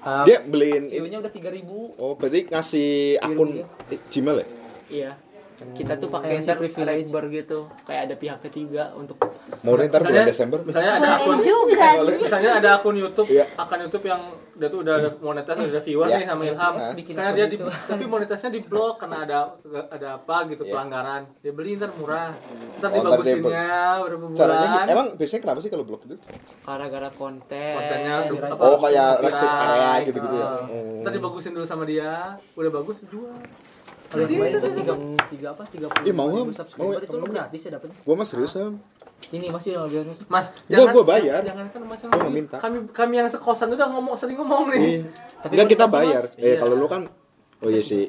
S6: um,
S3: Dia beliin ini.
S6: view-nya udah 3000
S3: Oh, berarti ngasih akun Gmail ya?
S5: Iya. Kita tuh pakai
S6: Gengsi
S5: ntar
S6: privilege.
S5: rekber gitu, kayak ada pihak ketiga untuk
S3: Mau ntar
S1: Misalnya-
S3: bulan Desember.
S1: Misalnya ada akun
S2: juga
S1: misalnya ada akun YouTube,
S3: Iya.
S1: akun YouTube yang dia tuh udah ada monetas, udah ada viewer
S3: Iya.
S1: nih sama Ilham.
S3: Terus
S6: bikin
S1: Karena
S6: akun
S1: dia di,
S6: gitu.
S1: tapi monetasnya di blok karena ada ada apa gitu
S3: Iya.
S1: pelanggaran. Dia beli ntar murah, ntar
S3: Oh, ntar
S1: dibagusinnya
S3: dibagus.
S1: berapa bulan.
S3: Caranya gi- emang biasanya kenapa sih kalau blok itu?
S5: gara-gara konten. Iya, gitu.
S1: kontennya du- apa,
S3: Oh, kayak
S1: dibagusin.
S3: restrict area gitu-gitu ya.
S1: Ah. Ntar dibagusin dulu sama dia, udah bagus jual.
S6: Kalau yang kemarin itu tiga tiga apa tiga puluh
S3: Ih, mau ah,
S6: ribu subscriber
S3: mau,
S6: itu lu
S3: mau.
S6: gratis ya dapetnya
S3: Gua mah serius Sam.
S6: ini masih yang lebih bagus.
S1: Mas,
S3: Enggak, gua bayar.
S1: Jangan kan Mas yang
S3: Gua Iya.
S1: lebih-
S3: minta.
S1: Kami kami yang sekosan udah ngomong sering ngomong nih.
S6: Tapi
S3: Enggak kita
S6: motivasi,
S3: bayar.
S6: Mas.
S3: Eh
S1: Iya.
S3: kalau lu kan oh iya sih.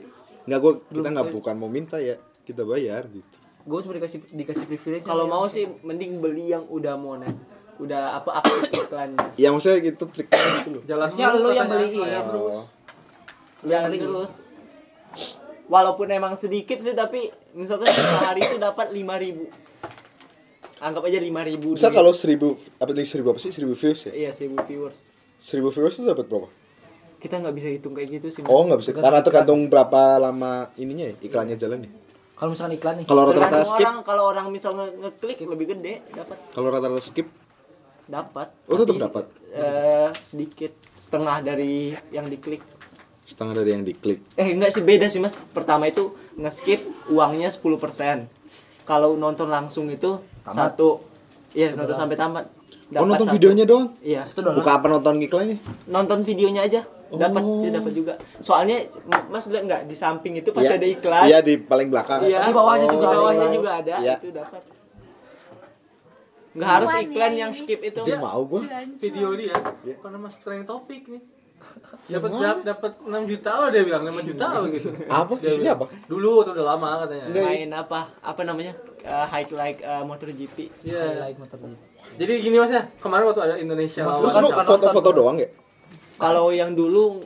S3: Enggak gua kita enggak bukan mau minta ya. Kita bayar gitu.
S6: gue cuma dikasih dikasih privilege
S5: Kalau
S6: aja.
S5: mau sih mending beli yang udah monet, udah apa aktif iklannya.
S3: Ya maksudnya gitu triknya gitu loh.
S1: Jalan
S6: Harusnya
S1: dulu
S6: Ya, lu yang
S1: katanya,
S6: beliin.
S1: bayar terus.
S3: Oh.
S6: Lu yang beli.
S5: terus walaupun emang sedikit sih tapi misalkan sehari itu dapat 5000 anggap aja 5000
S3: Misal
S5: duit.
S3: kalau 1000 apa nih 1000 apa sih? 1000 views ya?
S5: iya 1000 viewers
S3: 1000 viewers itu dapat berapa?
S5: kita nggak bisa hitung kayak gitu sih Mas.
S3: Oh, nggak bisa. Karena tergantung berapa lama ininya ya, iklannya jalan ya.
S6: kalau misalkan iklan nih
S3: Kalau rata-rata
S5: Tergantung
S3: skip,
S5: orang kalau orang misal nge- ngeklik lebih gede dapat
S3: kalau rata-rata skip,
S5: dapat
S3: Oh, tetap
S5: Tapi,
S3: dapat.
S5: eh, sedikit setengah dari yang diklik
S3: setengah dari yang diklik.
S5: eh enggak sih beda sih mas pertama itu nge-skip uangnya 10% kalau nonton langsung itu satu iya nonton sampai tamat
S3: oh,
S5: Dapat
S3: nonton
S5: satu.
S3: videonya doang.
S5: iya
S6: itu dolar
S3: Buka apa nonton iklannya?
S5: nonton videonya aja dapat
S3: Oh.
S5: dia dapat juga soalnya m- mas lihat nggak di samping itu pasti
S3: Iya.
S5: ada iklan
S3: Iya, di paling belakang.
S5: Iya.
S6: Di bawahnya juga
S5: di
S6: ada
S5: bawahnya
S6: iklan.
S5: juga ada
S3: Iya.
S5: itu dapat nggak harus
S2: Cuan
S5: iklan
S2: nih.
S5: yang skip itu
S3: Anjing, mau gua.
S6: iya.
S1: video dia
S3: Iya.
S1: karena mas trending topik nih
S3: Yang
S1: dapat
S3: mana?
S1: dapat 6 juta loh dia bilang 5 juta loh gitu
S3: Apa?
S1: Dia
S3: Isinya
S1: bilang,
S3: apa?
S1: dulu atau udah lama katanya
S3: Enggak.
S5: main apa apa namanya Eh, high like motor GP
S1: Iya.
S6: Highlight motor gitu.
S1: jadi gini mas ya kemarin waktu ada Indonesia
S6: Mas,
S1: lawan
S3: Terus
S6: Bukan
S3: lu
S6: sekarang
S3: foto-foto
S6: nonton.
S3: doang ya?
S5: kalau yang dulu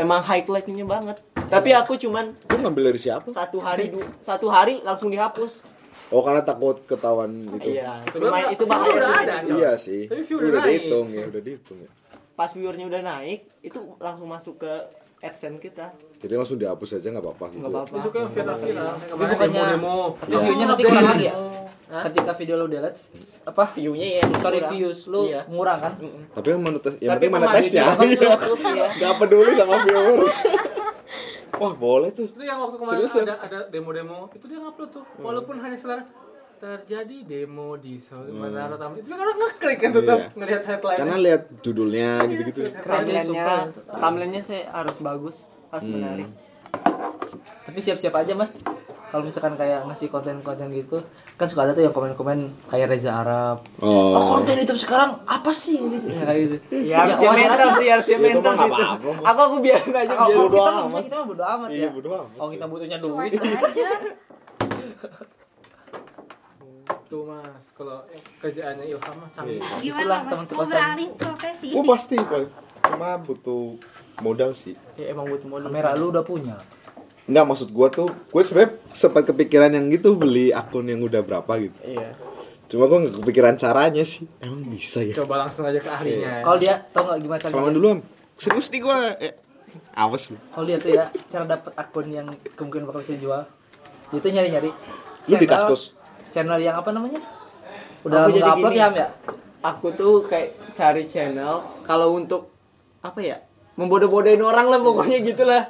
S5: emang high like-nya banget tapi aku cuman
S3: Lu ngambil dari siapa?
S5: satu hari du- satu hari langsung dihapus
S3: Oh, karena takut ketahuan gitu.
S5: iya
S1: Sebenarnya
S5: lumayan itu
S1: sebenarnya
S5: bahaya
S1: udah
S5: sih.
S1: ada. Kacau.
S3: Iya sih.
S1: Tapi view
S3: udah
S1: udah naik.
S3: dihitung ya, udah dihitung ya.
S5: pas viewernya udah naik itu langsung masuk ke adsense kita
S3: Jadi langsung dihapus aja nggak apa-apa gitu.
S5: nggak apa-apa
S1: itu kayak viral-viral kayak kemarin demo
S6: bukannya-
S1: demo
S3: Iya.
S6: View-nya nanti kurang lagi ya? Ketika video lu delete, apa?
S5: view-nya ya
S6: Story
S5: kurang.
S6: views lu
S5: Iya.
S6: murah kan?
S3: Tapi yang monetas, yang
S5: Tapi
S3: penting monetasnya.
S5: kemarin dia
S3: Iya.
S5: masuk, iya.
S3: Nggak peduli sama viewer. Wah, boleh tuh.
S1: itu yang waktu kemarin
S3: Serius ya?
S1: ada ada demo-demo itu dia ngupload tuh walaupun hanya sekarang terjadi demo di Sumatera Utara itu kan orang ngeklik kan tetap
S3: Iya.
S1: ngelihat headline
S3: Karena lihat judulnya gitu-gitu.
S6: ya
S5: thumbnailnya thumbnailnya sih harus bagus harus
S3: Hmm.
S5: menarik
S3: Ya,
S6: Tapi siap-siap aja mas. Kalau misalkan kayak ngasih konten-konten gitu, kan suka ada tuh yang komen-komen kayak Reza Arab.
S3: Oh.
S6: Oh,
S3: Iya,
S6: konten YouTube sekarang apa sih gitu? Ya, kayak gitu.
S5: ya harusnya
S6: wajar
S5: mental
S6: aja.
S5: sih harusnya
S3: Ya, itu
S5: mental
S3: mah nggak
S5: gitu
S3: apa-apa, Bu.
S5: aku aku biarin aja
S6: Kalau
S5: biarin.
S3: Iya, Bodo
S6: kita nggak
S3: amat.
S6: punya, kita mah bodo amat
S3: Iya,
S6: ya.
S3: bodo amat.
S6: Kalau kita butuhnya duit.
S1: tuh mas kalau eh, kerjaannya Ilham mah canggih
S3: Iya.
S6: Itulah
S2: Gimana mas?
S6: teman
S2: Mau
S6: sekosan.
S2: beralih profesi?
S3: Oh pasti, Pak. Cuma butuh modal sih.
S5: ya emang butuh modal
S6: Kamera lu udah punya.
S3: Enggak maksud gua tuh, gue sebenarnya sempat kepikiran yang gitu beli akun yang udah berapa gitu.
S5: iya
S3: Cuma gua nggak kepikiran caranya sih. Emang bisa ya?
S1: coba langsung aja ke ahlinya
S3: Iya.
S1: ya.
S6: Kalau dia tau nggak gimana caranya?
S3: Salaman dulu am. Serius nih gua. Eh, awas lu.
S6: Kalau dia tuh ya cara dapat akun yang kemungkinan bakal bisa dijual. Itu nyari-nyari.
S3: Lu di
S6: channel-
S3: kaskus.
S6: Channel yang apa namanya? Udah
S5: Aku
S6: lama
S5: jadi
S6: nggak upload
S5: gini.
S6: ya, Am, ya?
S5: aku tuh kayak cari channel kalau untuk apa ya membodoh-bodohin orang lah pokoknya gitulah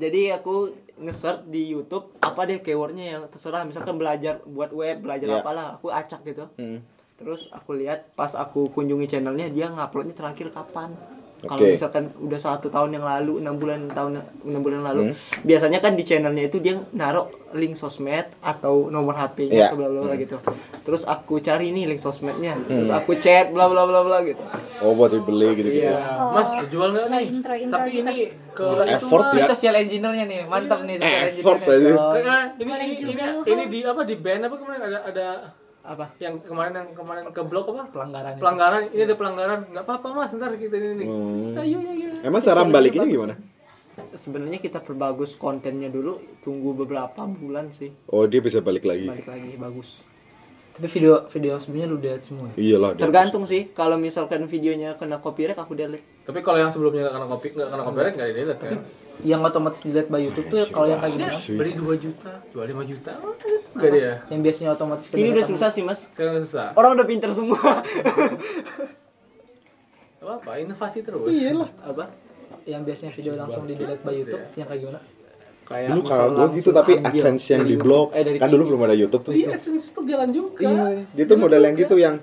S5: jadi aku nge-search di YouTube apa deh keywordnya yang terserah misalkan belajar buat web belajar
S3: Iya.
S5: apalah aku acak gitu
S3: Hmm.
S5: terus aku lihat pas aku kunjungi channelnya dia nguploadnya terakhir kapan kalau
S3: Oke.
S5: misalkan udah satu tahun yang lalu enam bulan tahun enam bulan lalu biasanya kan di channelnya itu dia naruh link sosmed atau nomor
S3: Iya.
S5: HP nya atau bla bla bla gitu terus aku cari nih link sosmednya terus aku chat bla bla bla bla gitu
S3: Oh buat dibeli gitu-gitu.
S5: Iya.
S1: Nah, Mas, jual nggak nih?
S2: Intro, intro
S1: Tapi
S2: kita.
S1: ini ke
S3: Effort ya.
S6: Social engineer-nya nih, mantap nih social
S3: Effort
S6: engineer-nya. Oh,
S1: Eh,
S3: aja.
S1: ini ini
S2: Boleh
S1: ini,
S2: juga lu.
S1: ini di apa di band apa kemarin ada ada
S5: apa
S1: yang kemarin yang kemarin ke blok apa?
S6: Pelanggaran itu.
S1: Pelanggaran, ini ada pelanggaran. Nggak apa-apa Mas, ntar kita ini nih.
S3: Hmm.
S1: Ayo, ayo, ayo.
S3: Emang cara balikinnya gimana?
S5: sebenarnya kita perbagus kontennya dulu tunggu beberapa bulan sih
S3: Oh dia bisa balik lagi.
S5: balik lagi bagus
S6: Tapi video video sebelumnya lu lihat semua. ya?
S3: Iyalah. dia-
S5: tergantung sih kalau misalkan videonya kena copyright aku delete
S1: Tapi kalau yang sebelumnya nggak kena kopi, nggak kena copyright nggak dilihat ya.
S3: Iya.
S6: Yang otomatis dilihat by YouTube tuh ya kalau yang kayak gini,
S1: Beli 2 juta, jual 5 juta. Oh, Enggak dia.
S6: yang biasanya otomatis
S5: ini udah
S6: kebanyakan-
S5: susah sih mas
S1: Sekarang susah.
S5: orang udah pinter semua
S1: Nggak apa-apa, inovasi terus.
S3: Iya
S5: apa
S6: yang biasanya video langsung di delete by YouTube yang kayak gimana?
S5: kayak
S3: Dulu
S5: misal
S3: kakak gue gitu
S5: langsung
S3: tapi
S5: ambil
S3: AdSense yang
S5: dari
S3: di blok
S5: YouTube, eh, dari
S3: kan dulu belum ada YouTube tuh.
S1: Iya, AdSense berjalan juga.
S3: Iya, dia tuh model yang gitu yang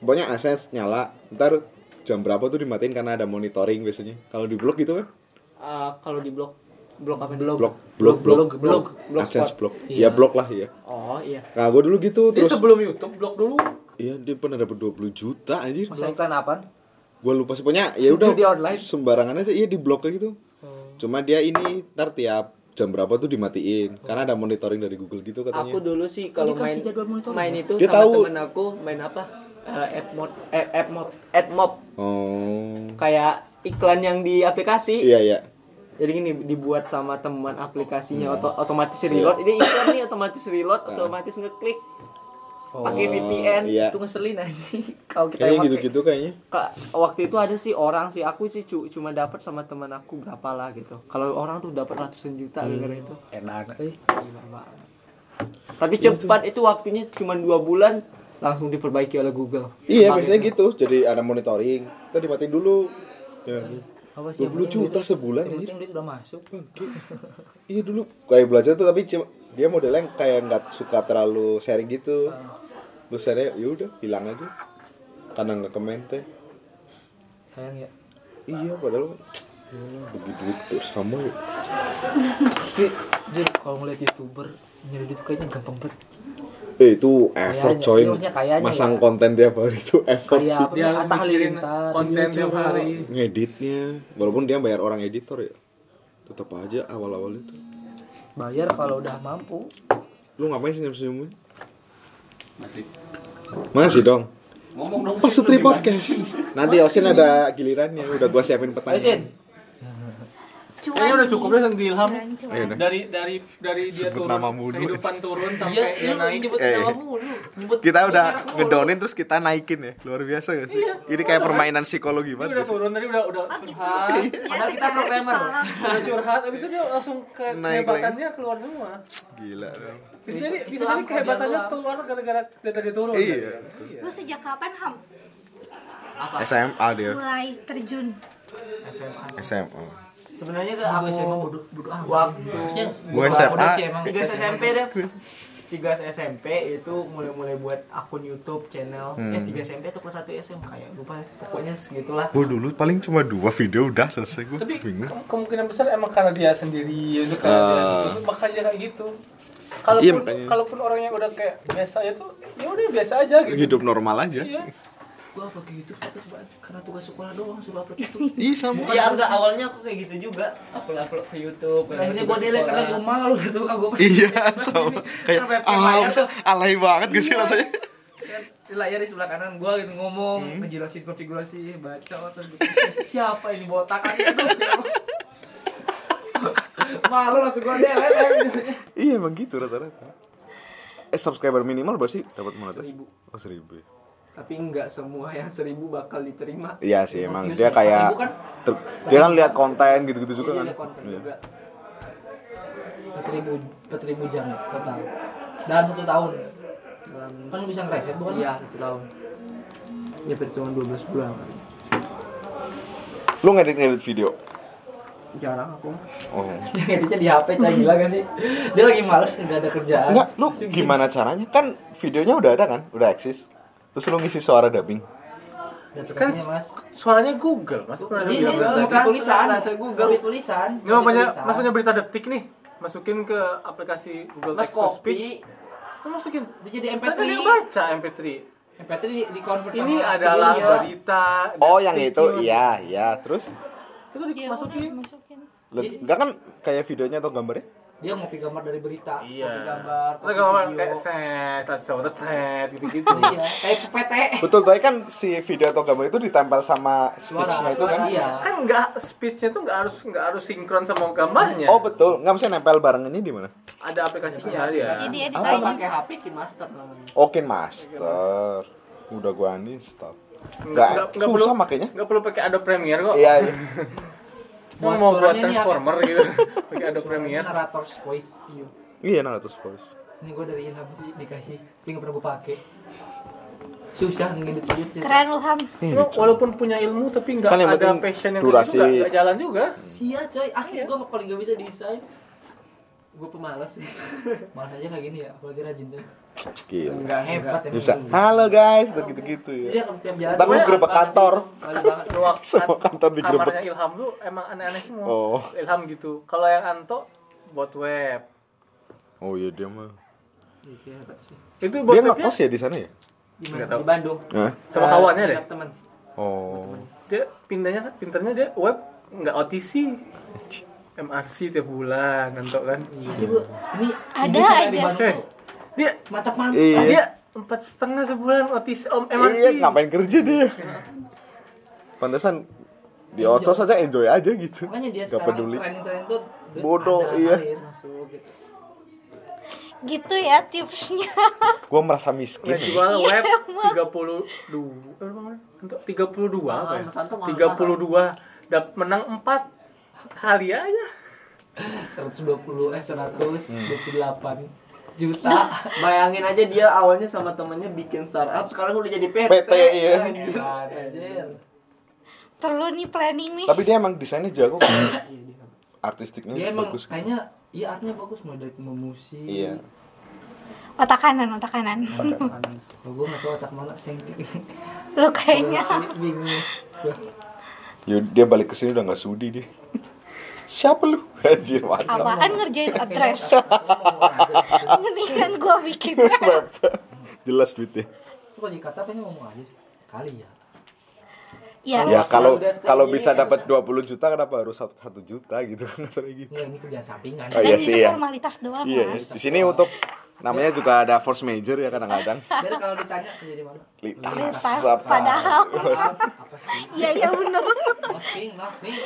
S3: pokoknya AdSense nyala, ntar jam berapa tuh dimatiin karena ada monitoring biasanya. Kalau di blok gitu kan,
S5: Eh, kalau di blok blok apa
S6: Blog.
S3: blok blog blok
S6: blog, blog.
S3: AdSense blok.
S6: Iya.
S3: Ya blok lah ya.
S5: oh iya
S3: Kakak gue dulu gitu
S1: Dia
S3: terus
S1: sebelum YouTube blog dulu.
S3: iya dia pernah dapat 20 juta anjir.
S6: Masa iklan apaan?
S3: Gue lupa sih pokoknya ya udah
S6: Judi online?
S3: sembarangan aja iya di blok kayak gitu. Cuma dia ini ntar tiap jam berapa tuh dimatiin karena ada monitoring dari Google gitu
S5: aku
S3: katanya.
S5: dulu sih kalau main
S6: Dikasih jadwal monitor
S5: main itu
S3: Dia
S5: sama
S3: tahu.
S5: temen aku main apa Eh, app mod eh, app mod app mob
S3: Oh.
S5: kayak iklan yang di aplikasi
S3: Iya iya.
S5: jadi ini dibuat sama teman aplikasinya
S3: Hmm.
S5: oto- otomatis
S3: Iya.
S5: reload ini iklan nih otomatis reload otomatis ngeklik pakai
S3: Nah.
S5: VPN gitu,
S3: Iya.
S6: Itu ngeselin anjing. Kalau kita
S3: Kayaknya
S6: yang pakai.
S3: gitu-gitu kayaknya.
S5: Ka- waktu itu ada sih orang sih aku sih cu- cuma dapat sama teman aku berapa lah gitu kalau orang tuh dapat ratusan juta gara-gara itu
S6: Eh,
S5: Gila banget. tapi cepat itu waktunya cuma dua bulan langsung diperbaiki oleh Google
S3: Iya,
S5: Kemarin.
S3: biasanya gitu. Jadi ada monitoring. Kita dimatiin dulu. Ya.
S6: Apa
S3: 20
S6: sih? yang penting
S3: juta sebulan
S6: Yang
S3: anjir.
S6: penting duit udah masuk.
S3: Bangke. Iya dulu kayak belajar tuh tapi cuma- dia modelnya yang kayak nggak suka terlalu sharing gitu. Terus sharing ya udah hilang aja. Karena nggak komen teh.
S6: Sayang ya.
S3: Iya padahal ya Allah, bagi duit tuh sama ya.
S6: Tapi jujur kalau ngeliat YouTuber nyari duit kayaknya gampang banget.
S3: Eh itu effort
S6: Kayaknya,
S3: coy.
S6: iya, maksudnya kayaknya
S3: Masang
S6: ya. Iya,
S3: konten tiap hari itu effort
S6: Kayak
S3: sih.
S6: apa? ya?
S1: Dia harus
S6: Atta
S1: mikirin
S6: Halilintar. Iya,
S1: konten tiap
S3: Cara
S1: hari.
S3: ngeditnya walaupun dia bayar orang editor ya tetap aja awal-awal itu
S6: Bayar kalau udah mampu.
S3: lu ngapain senyum-senyumin masih dong
S8: Ngomong dong.
S3: Pas Sutri Podcast. Nanti Osin ada gilirannya, udah gua siapin
S6: Ayo Sin.
S3: pertanyaan.
S1: Kayaknya udah cukup deh sama Ilham.
S6: Iya,
S3: Ayo dah.
S1: Dari dari dari dia
S3: Iya, Sebut
S1: turun
S3: nama mulu.
S1: kehidupan turun sampai
S6: Iya,
S1: dia
S6: lu
S1: naik.
S6: nyebut
S3: Eh.
S6: nama mulu. Nyebut
S3: Kita udah
S1: Iya,
S6: merek mulu.
S3: ngedownin terus kita naikin ya. Luar biasa gak sih? Ini kayak permainan
S1: Dia Iya.
S3: psikologi
S1: udah
S3: banget. gak sih?
S1: turun tadi udah udah curhat.
S2: Ya,
S6: Padahal kita programmer loh.
S1: udah curhat abis itu dia langsung ke
S3: Naik
S1: kehebatannya keluar semua
S3: Gila. dong.
S1: bisa jadi bisa
S6: itu
S1: jadi
S6: angka
S1: kehebatannya
S6: dia doang.
S1: keluar gara-gara dia tadi turun
S3: Iya.
S2: Lu sejak kapan ham
S3: SMA dia.
S2: mulai terjun?
S3: SMA.
S5: sebenarnya ke aku
S6: Aku SMA bodoh bodoh amat.
S5: waktu
S3: Gua
S6: Bodoh
S3: SMA.
S6: sih emang.
S5: 3 SMP deh 3 SMP itu mulai-mulai buat akun YouTube channel eh 3 SMP atau kelas 1 SMP kayak lupa ya. pokoknya segitulah
S3: Gua dulu paling cuma dua video udah selesai gua
S1: tapi
S3: bingung.
S1: ke- kemungkinan besar emang karena dia sendiri itu karena dia
S3: Ah.
S1: sendiri, makanya kayak gitu kalaupun
S3: Iya, makanya.
S1: kalaupun orang yang udah kayak biasa itu ya udah biasa aja gitu
S3: Hidup normal aja.
S1: iya
S6: Gua apa gitu tapi cuma karena tugas sekolah doang suruh upload itu.
S3: Iya sama.
S5: Iya enggak awalnya aku kayak gitu juga upload upload ke YouTube
S6: Nah, Akhirnya gua delete karena gua malu gitu kan gua pasti
S3: Iya sama.
S1: ya?
S6: ya?
S3: Kayak ah, masa alay banget gak sih
S1: Iya.
S3: rasanya?
S6: di layar di sebelah kanan gua gitu
S3: Hmm.
S6: ngomong, ngejelasin konfigurasi, baca terus gua, siapa ini botak aja tuh. Malu langsung gua delete aja videonya.
S3: Iya emang gitu rata-rata. Eh subscriber minimal berapa sih dapat monetisasi? Oh seribu.
S5: tapi enggak semua yang seribu bakal diterima
S3: Iya sih emang
S6: Views
S3: dia
S6: berapa
S3: kayak
S6: ribu kan?
S3: ter- dia kan lihat konten gitu-gitu juga
S5: Iya,
S3: kan.
S5: ada konten
S3: Iya.
S5: juga
S6: 4000 4000 jam ya total. Dalam satu tahun.
S5: dalam
S6: Kan lu bisa ngereset bukan?
S5: iya satu tahun ya cuma 12 bulan
S3: Lu Lu ngedit-ngedit video?
S6: jarang aku
S3: Oh.
S6: yang editnya di HP cah gila gak sih dia lagi males nggak ada kerjaan
S3: Enggak, lu gimana caranya? Kan videonya udah ada kan? Udah eksis. Terus lu ngisi suara dubbing.
S1: Kan
S6: Aplikasinya, mas
S1: suaranya Google, Mas. Pernah ada
S6: ini
S1: bilang
S6: Google
S1: Google.
S6: bukan tulisan
S5: rasa Google.
S6: Kopi tulisan
S1: Ini mau
S6: kopi
S1: punya,
S6: tulisan.
S1: Mas punya berita detik nih. Masukin ke aplikasi Google
S5: Mas
S1: Text to Speech.
S5: kopi.
S1: Lu masukin.
S6: Dia jadi
S1: Kan
S6: MP3
S1: dia baca MP3.
S6: MP3 di, di convert
S1: Ini
S6: sama
S1: adalah
S6: video.
S1: berita.
S3: Oh,
S1: detik
S3: yang
S1: news.
S3: itu. Iya, iya. Terus
S1: Itu
S6: Iya,
S1: dimasukin.
S3: lu- enggak kan kayak videonya atau gambarnya?
S6: dia ngopi gambar dari berita
S1: Iya.
S6: ngopi gambar
S1: Terus
S6: ngopi
S1: gambar
S6: video.
S1: kayak set, set, set, set, gitu-gitu.
S6: iya kayak PT
S3: Betul, tapi kan si video atau gambar itu ditempel sama
S6: suara
S3: speech-nya itu kan.
S6: iya
S1: Kan nggak speech-nya tuh nggak harus nggak harus sinkron sama gambarnya.
S3: Oh, betul. Enggak mesti nempel bareng ini di mana?
S1: Ada aplikasinya dia.
S2: Jadi edit
S3: Apa
S5: Kalau
S2: aja.
S5: pakai HP Kinmaster namanya.
S3: Oke, Master. Udah gua uninstall.
S1: Nggak-
S3: Enggak,
S1: nggak
S3: susah
S1: perlu-
S3: makanya.
S1: Nggak perlu pakai Adobe Premiere kok.
S3: Iya, iya.
S1: Mau
S6: Buat
S1: mau buat
S6: suaranya nih, ya.
S1: Transformer gitu. pakai Adobe
S6: Premiere
S1: Premiere.
S6: narrator's voice iya
S3: Iya, 100 voice.
S6: ini gue dari Ilham sih dikasih tapi nggak pernah gue pakai susah ngedit video sih
S2: Keren lu Ham.
S1: Lu walaupun punya ilmu tapi nggak
S3: Kan yang
S1: ada
S3: penting
S1: passion yang
S3: durasi.
S1: nggak nggak jalan juga.
S5: Sia coy, asli gue paling gak bisa desain. Gue pemalas.
S6: malas aja kayak gini ya apalagi rajin tuh
S3: Gila.
S6: nggak hebat ya
S3: Bisa. Halo guys, tuh gitu-gitu ya.
S1: Iya,
S6: dia kalau tiap jalan
S3: Tapi
S6: gua-
S3: gerobak kantor.
S6: Malu banget.
S1: Ruang
S3: Semua kantor digerebek.
S1: kamarnya Ilham lu emang aneh-aneh semua.
S3: Oh.
S1: Ilham gitu. Kalau yang Anto buat web.
S3: Oh iya dia mah.
S6: Iya, hebat sih.
S1: Itu buat
S3: Dia
S1: webnya
S3: ngekos ya di sana ya?
S6: Di
S1: Nggak
S6: mana?
S1: tahu.
S6: Di Bandung.
S3: Hah?
S1: sama
S6: Eh,
S1: kawannya deh.
S6: tiap Teman.
S3: Oh.
S1: Dia pindahnya kan pinternya dia web nggak OTC. MRC tiap bulan Anto kan.
S6: Masih Bu, ini
S2: Ada
S6: ini
S2: aja.
S6: di Bandung
S1: Coy.
S6: tuh
S1: Dia
S6: mantap mantap.
S1: dia
S3: Iya.
S1: empat setengah sebulan OTC om MRC.
S3: Iya, ngapain kerja dia? Pantesan di
S1: Iya.
S3: outsource aja enjoy aja gitu.
S6: Makanya dia
S3: Gak
S6: sekarang
S3: peduli.
S6: tren-tren tuh duit
S3: Bodoh,
S6: ada,
S3: iya.
S6: ngalir, masuk gitu.
S2: Gitu ya tipsnya.
S3: Gua merasa miskin.
S6: Iya,
S1: Udah
S3: ya.
S1: jual Iya, web 32 eh, berapa? Untuk 32
S6: Ah,
S1: apa ya?
S5: Mas Anto mahal
S1: 32 dap menang 4 kali aja.
S6: 120 eh 128 juta.
S5: Bayangin aja dia awalnya sama temennya bikin startup, sekarang udah jadi PT. Iya,
S3: PT, iya.
S6: Anjir.
S2: Perlu nih planning nih.
S3: Tapi dia emang desainnya jago kan.
S1: Iya.
S3: Artistiknya
S6: Dia emang
S3: bagus.
S6: kayaknya iya artnya bagus mulai dari memusik.
S3: Iya.
S2: Otak kanan, otak kanan.
S6: Oh, gue gak tau otak mana sih
S2: Lu kayaknya
S6: bingung
S3: Ya, dia balik ke sini udah nggak sudi dia. Siapa lu? Anjir, mantap.
S2: apaan ngerjain address. Mendingan gua bikin. Iya,
S3: Jelas duitnya.
S6: Kok dikata pengen ngomong aja sih? Kali ya
S2: Ya,
S3: Ya kalau
S5: udah stay
S3: kalau
S5: ini
S3: bisa
S5: ya.
S3: dapat 20 juta kenapa harus 1 juta gitu kan gitu.
S6: Enggak ini kerjaan sampingan
S3: Oh,
S2: kan
S3: iya
S2: itu
S3: sih, iya.
S2: formalitas doang
S3: Iya,
S2: mas.
S3: di sini untuk namanya juga ada force major ya kadang-kadang.
S6: Jadi kalau ditanya kerja di mana?
S3: Lintas
S2: Lintas, Iya, padahal.
S6: Apa sih?
S2: Iya, iya bener.
S6: Nothing, nothing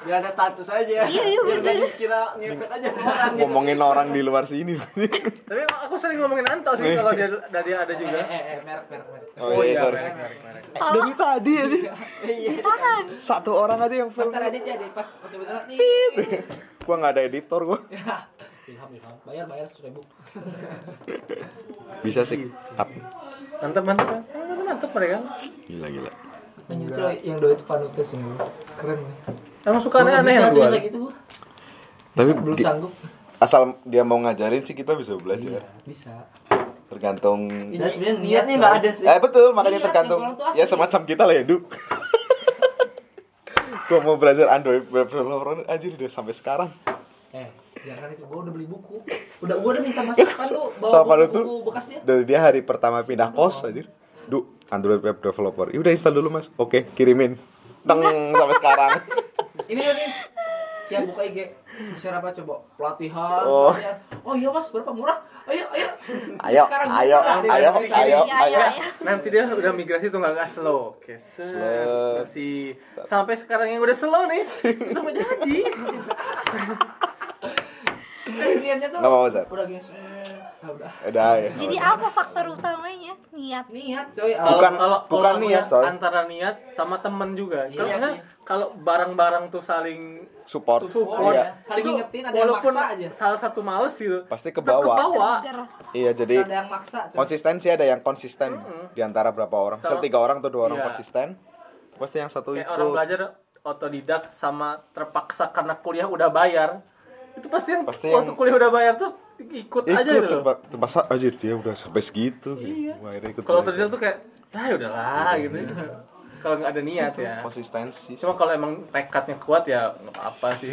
S5: Biar ada status
S2: Iya,
S5: aja.
S2: iya,
S5: Biar gak dikira ngepet aja sama orang gitu.
S3: ngomongin orang di luar sini. Oh, iya,
S1: Tapi emang aku sering ngomongin Anto sih kalau dia dari ada
S6: Eh,
S1: juga.
S6: eh, eh, merek, merek, merek
S3: Oh iya, sorry. Dari tadi aja. Satu orang aja yang film.
S6: Ntar edit ya, di pas pas sebentar nih
S3: Gua nggak ada editor gua.
S6: Ilham, ilham, bayar, bayar, seratus ribu
S3: Bisa sih. Up.
S1: Mantap mantap. Mantap mantap mereka.
S3: Gila gila.
S6: Menyusul yang dua itu panutus semua Keren ya
S1: Emang suka aneh-aneh yang
S6: Bisa
S1: gua.
S6: sih kayak gitu gua.
S3: Tapi
S6: Belum
S3: di-
S6: sanggup
S3: asal dia mau ngajarin sih kita bisa belajar.
S6: Bisa
S3: Tergantung
S6: Dan sebenarnya
S5: Niatnya nggak ada sih.
S3: Eh betul, makanya
S6: Iya,
S3: tergantung
S6: yang kurang tuh
S3: ya
S6: asli.
S3: semacam kita lah ya, Du. gua mau belajar Android web developer anjir udah sampai sekarang.
S6: Eh, jangan itu, gua udah beli buku Udah, gua udah minta masukan tuh
S3: Iya, sama
S6: Bawa
S3: lu tuh
S6: buku-buku bekas dia
S3: dari dia hari pertama pindah kos aja du Android web developer "Ya udah install dulu mas oke kirimin teng sampai sekarang
S6: ini ini yang buka IG share apa coba pelatihan
S3: Oh.
S6: pelatihan. oh iya mas berapa murah ayo ayo
S3: ayo
S6: Sekarang buka
S3: ayo
S6: lah, dia
S3: ayo
S6: dari sini.
S3: ayo
S2: Iya,
S3: ayo
S2: iya, iya.
S1: Nanti dia udah migrasi tuh nggak nggak slow. Oke, set,
S3: Slow.
S1: bersih. Sampai sekarang yang udah slow nih. Itu mau jadi.
S6: Eh, niatnya tuh
S3: Nggak apa-apa, Zat.
S6: udah gini eh, ah, udah
S3: udah ya
S2: Jadi apa faktor utamanya? Niat.
S6: niat coy
S1: Kalau-
S3: Bukan-
S1: kalau
S3: bukan
S1: kalau
S3: niat, coy.
S1: Antara niat sama temen juga. Kalau
S6: Iya,
S1: nggak,
S6: iya.
S1: kalau barang-barang tuh saling
S3: support
S1: support ya.
S3: iya
S6: saling
S1: Itu
S6: ngingetin ada yang
S1: walaupun
S6: maksa aja
S1: salah satu males gitu
S3: Pasti
S1: tetap
S3: kebawa.
S1: kebawa.
S2: Gerah.
S3: iya jadi
S6: ada yang maksa coy
S3: konsistensi ada yang konsisten di antara berapa orang misal
S1: Sama-
S3: tiga orang atau dua orang
S1: Iya.
S3: konsisten pasti yang satu
S1: kayak
S3: itu
S1: orang belajar otodidak sama terpaksa karena kuliah udah bayar itu pasti yang
S3: Pasti
S1: waktu
S3: yang-
S1: kuliah udah bayar tuh ikut, aja
S3: ikut
S1: gitu loh
S3: terpa- terpaksa aja dia udah sampai segitu iya. ikut
S1: kalau
S3: belajar.
S1: otodidak tuh kayak ah ya udahlah
S3: Iya.
S1: gitu kalau nggak ada niat ya
S3: konsistensi sih.
S1: cuma kalau emang tekadnya kuat ya nggak apa sih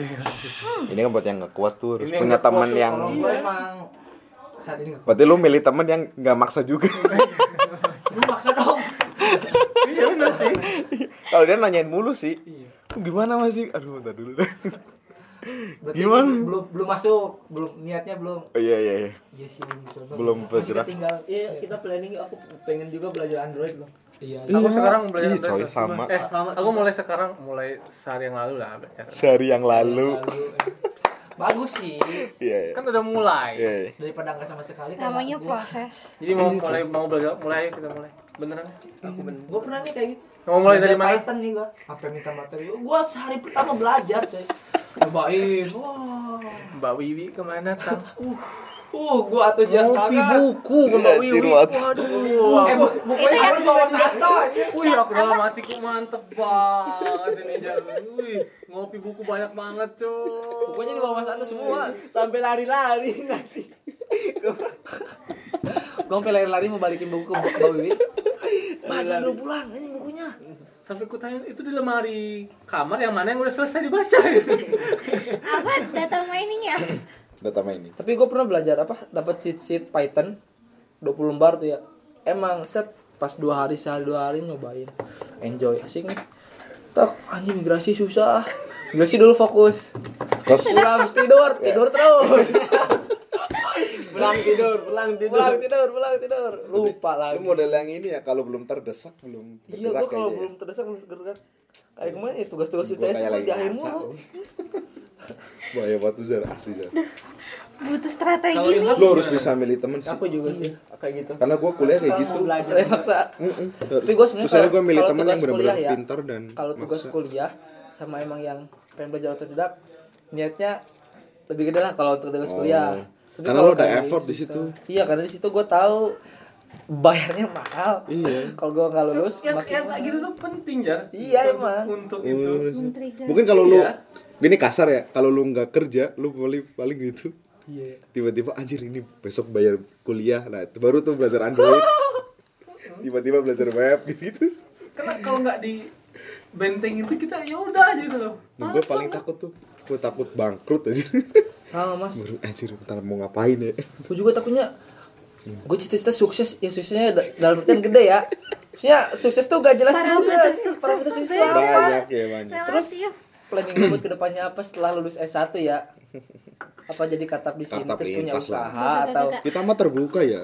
S3: ini kan buat yang nggak kuat tuh harus
S1: Ini yang
S3: punya
S1: nggak kuat
S3: teman
S1: tuh,
S3: yang Iya.
S6: Kalau gue emang saat ini
S3: berarti lu milih teman yang nggak maksa juga
S6: lu maksa dong.
S1: iya bener sih
S3: kalau dia nanyain mulu sih
S1: Iya.
S3: gimana masih aduh bentar dulu deh
S6: Berarti
S3: Gimana?
S6: Belum belum masuk, belum niatnya belum.
S3: oh, iya iya iya
S6: Iya sih belum dicoba.
S3: Belum
S6: Masih
S3: bergerak.
S6: Tinggal
S5: Iya, kita planning aku pengen juga belajar Android loh.
S6: iya.
S1: aku sekarang belajar
S3: Ih, coy, sama.
S1: eh
S5: Sama,
S1: aku mulai sekarang mulai sehari yang lalu lah
S3: Iya.
S1: belajar
S3: sehari yang lalu
S6: Lalu, eh, Bagus sih
S3: iya iya
S1: kan udah mulai
S3: Iya, iya.
S6: daripada enggak sama sekali kan.
S2: namanya proses
S1: jadi mau mulai mau belajar mulai kita mulai beneran ya?
S6: Aku bener. Gue pernah nih kayak gitu.
S1: mau mulai dari mana
S6: Python nih gua. Apa yang minta materi? Gua sehari pertama belajar, coy. Cobain. Wah.
S1: Mbak Wiwi kemana tang?
S6: Uh, gua antusias
S1: Ngopi
S6: banget.
S1: buku ke Mbak
S3: Iya,
S1: Wiwi.
S3: Cirwat.
S1: Waduh.
S6: Eh, bu- bukunya harus bawa satu aja.
S1: Wih, aku dalam hatiku mantep banget ini Jal. Wih, ngopi buku banyak banget, cuy.
S6: Bukunya dibawa Mas Anda semua.
S5: Sampai lari-lari ngasih.
S6: Gua sampai lari-lari mau balikin buku ke Mbak Wiwi. Baca dulu pulang, ini bukunya.
S1: Sampai ku tanya, itu di lemari kamar yang mana yang udah selesai dibaca gitu.
S2: apa ya? data miningnya
S3: Datama ini
S5: Tapi gue pernah belajar apa? Dapat cheat sheet Python 20 lembar tuh ya. Emang set pas dua hari sehari dua hari nyobain. Enjoy asik nih. Tok, anjing migrasi susah. Migrasi dulu fokus.
S3: terus
S5: Pulang tidur, tidur terus. pulang tidur, pulang tidur. Pulang tidur, pulang tidur. Lupa
S3: itu
S5: lagi.
S3: model yang ini ya kalau belum terdesak belum
S5: Iya,
S3: bergerak
S5: gue kalau
S3: kayaknya ya.
S5: belum terdesak belum tergerak. Kayak kemarin ya tugas-tugas
S3: Gua
S5: UTS
S3: kayak
S5: tuh
S3: lagi
S5: di akhir
S3: ngaca.
S5: mulu.
S3: bahaya banget tuh Zar, asli Zar.
S2: butuh strategi nih
S3: lu harus bisa milih temen sih
S5: juga sih kayak gitu.
S3: karena gua kuliah kayak gitu
S5: Belajar maksa.
S3: Mm-mm,
S5: Tapi gua sebenarnya
S3: Misalnya
S5: kalau-
S3: gue milih
S5: kalau
S3: temen yang
S5: tugas
S3: benar-benar
S5: kuliah ya,
S3: pintar dan
S5: Kalau tugas
S3: maksa.
S5: kuliah sama emang yang pengen belajar otodidak, niatnya lebih gede lah kalau untuk tugas
S3: Oh.
S5: kuliah.
S3: Karena
S5: kalau
S3: lo udah
S5: kayak
S3: effort di
S5: susah.
S3: situ.
S5: Iya, karena di situ gua tahu bayarnya mahal.
S3: Iya.
S5: Kalau gua nggak lulus,
S1: Yang
S5: makin
S1: yang kayak gitu tuh penting, Jar.
S5: Iya, emang.
S1: Untuk
S3: Iya,
S5: gitu.
S1: itu.
S3: bener sih. Mungkin kalau lu
S1: Iya.
S3: ini kasar ya, kalau lu nggak kerja, lu paling paling gitu.
S5: Iya.
S3: Tiba-tiba anjir ini besok bayar kuliah. Nah, itu baru tuh belajar Android. Tiba-tiba belajar web gitu.
S1: Karena kalau nggak di benteng itu kita ya udah aja gitu loh.
S3: Nah, gue paling takut tuh. Gue takut bangkrut aja.
S5: sama Mas.
S3: baru anjir bentar mau ngapain ya?
S5: Gue juga takutnya gue cita-cita sukses ya suksesnya da- dalam artian gede ya maksudnya sukses tuh gak jelas juga
S2: Parameter sukses Iya.
S5: parameter sukses tuh apa
S3: Banyak ya banyak.
S5: terus planning lu buat kedepannya apa setelah lulus S1 ya apa jadi katap di sini
S3: Katap
S5: terus punya
S3: lintas lah.
S5: usaha atau
S3: Kita mah terbuka ya.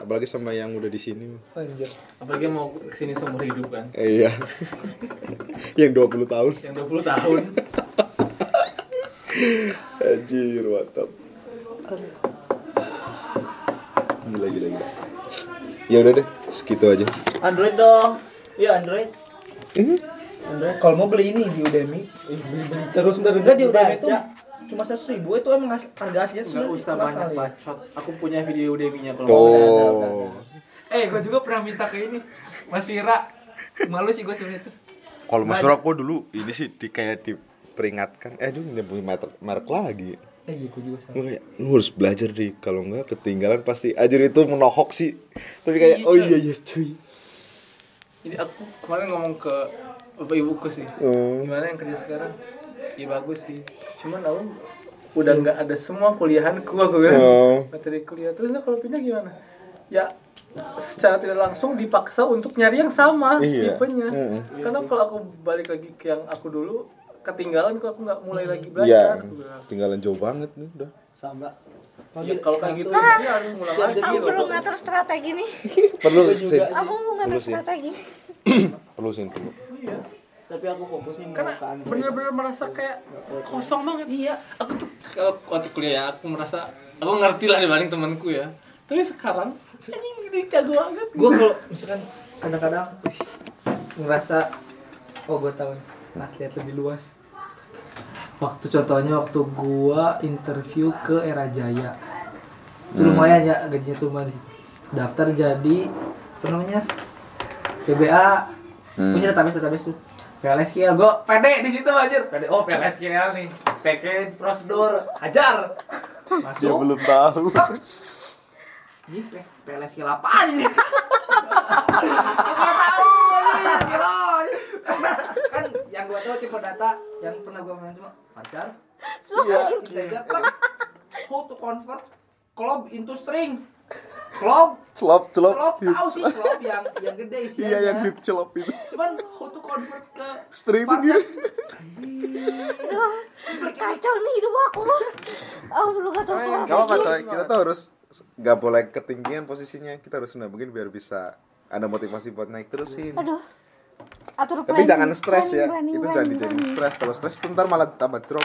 S3: Apalagi sama yang udah di sini. mah.
S5: anjir
S1: Apalagi mau kesini seumur hidup kan.
S3: Eh, iya. yang 20 tahun.
S1: Yang 20 tahun.
S3: Anjir, mantap. Gila, gila, gila. Ya udah deh, segitu aja.
S5: Android dong iya Android Hmm? Android kalau mau beli ini di Udemy terus enggak di Udemy tuh cuma seratus ribu itu emang as- harga aslinya
S1: Nggak usah banyak bacot. Aku punya video Udemy-nya kalau mau.
S3: Tuh.
S6: Eh, gua juga pernah minta ke ini. Mas Wira. Malu sih gua sebenarnya tuh.
S3: Kalau Mas Rock, gua dulu ini sih di, kayak diperingatkan. Eh, aduh, nyebut merek, merek lagi.
S6: Eh, iya, gua juga sama.
S3: Gua kayak, lu harus belajar di kalau enggak ketinggalan pasti anjir itu menohok sih. Tapi kayak oh iya iya cuy.
S1: Jadi aku kemarin ngomong ke bapak ibuku sih.
S3: Oh.
S1: Gimana yang kerja sekarang? Ya bagus sih. Cuman aku udah nggak ada semua kuliahanku aku bilang.
S3: Oh.
S1: Materi kuliah terus nah, kalau pindah gimana? Ya secara tidak langsung dipaksa untuk nyari yang sama
S3: Iya.
S1: tipenya.
S3: Mm-mm.
S1: Karena kalau aku balik lagi ke yang aku dulu ketinggalan kalau aku nggak mulai lagi belajar.
S3: Iya,
S1: aku bilang.
S3: tinggalan jauh banget nih udah.
S5: sama Iya,
S1: Ya, kalau kayak gitu dia harus mulai lagi.
S3: Iya,
S2: aku perlu ngatur strategi nih
S3: Perlu sih,
S2: aku mau ngatur
S3: Perlu sih.
S2: strategi
S3: perlu sih perlu.
S5: tapi aku fokus nih
S1: karena bener-bener merasa kayak kosong banget iya aku tuh kalau waktu kuliah ya aku merasa aku ngerti lah dibanding temanku ya tapi sekarang anjing gini jago banget
S5: gue kalau misalkan kadang-kadang wih, ngerasa oh gue tahu nih, harus lihat lebih luas
S6: Waktu contohnya waktu gua interview ke Era Jaya. Itu lumayan ya gajinya tuh lumayan di situ. Daftar jadi apa namanya? DBA. Punya database database tuh. PLS Kiel, gue pede di situ anjir. Pede, oh PLS Kiel nih. Package prosedur, hajar.
S3: Dia
S6: Masuk.
S3: belum tahu.
S6: Ih, PLS Kiel apaan ini? Gak tahu, anjir, gila. kan yang gue tahu tipe data yang pernah gue main cuma hajar,
S3: Iya.
S6: integer, kan. how to convert, club into string, club,
S3: Celop, celop.
S6: club tahu sih club yang yang gede sih.
S3: Iya yang hip celop itu.
S6: Cuman how to convert ke
S3: String itu
S6: parser
S3: dia.
S2: Kacau nih hidup aku. Oh, lu gak terus
S3: Gak apa-apa coy, kita tuh harus nggak boleh ketinggian posisinya. Kita harus mungkin biar bisa ada motivasi buat naik terusin.
S2: Aduh. Atur
S3: Tapi
S2: planning,
S3: jangan stres ya.
S2: planning, planning,
S3: Itu jangan
S2: planning,
S3: dijadiin stres. Kalau stres tuh ntar malah tambah drop.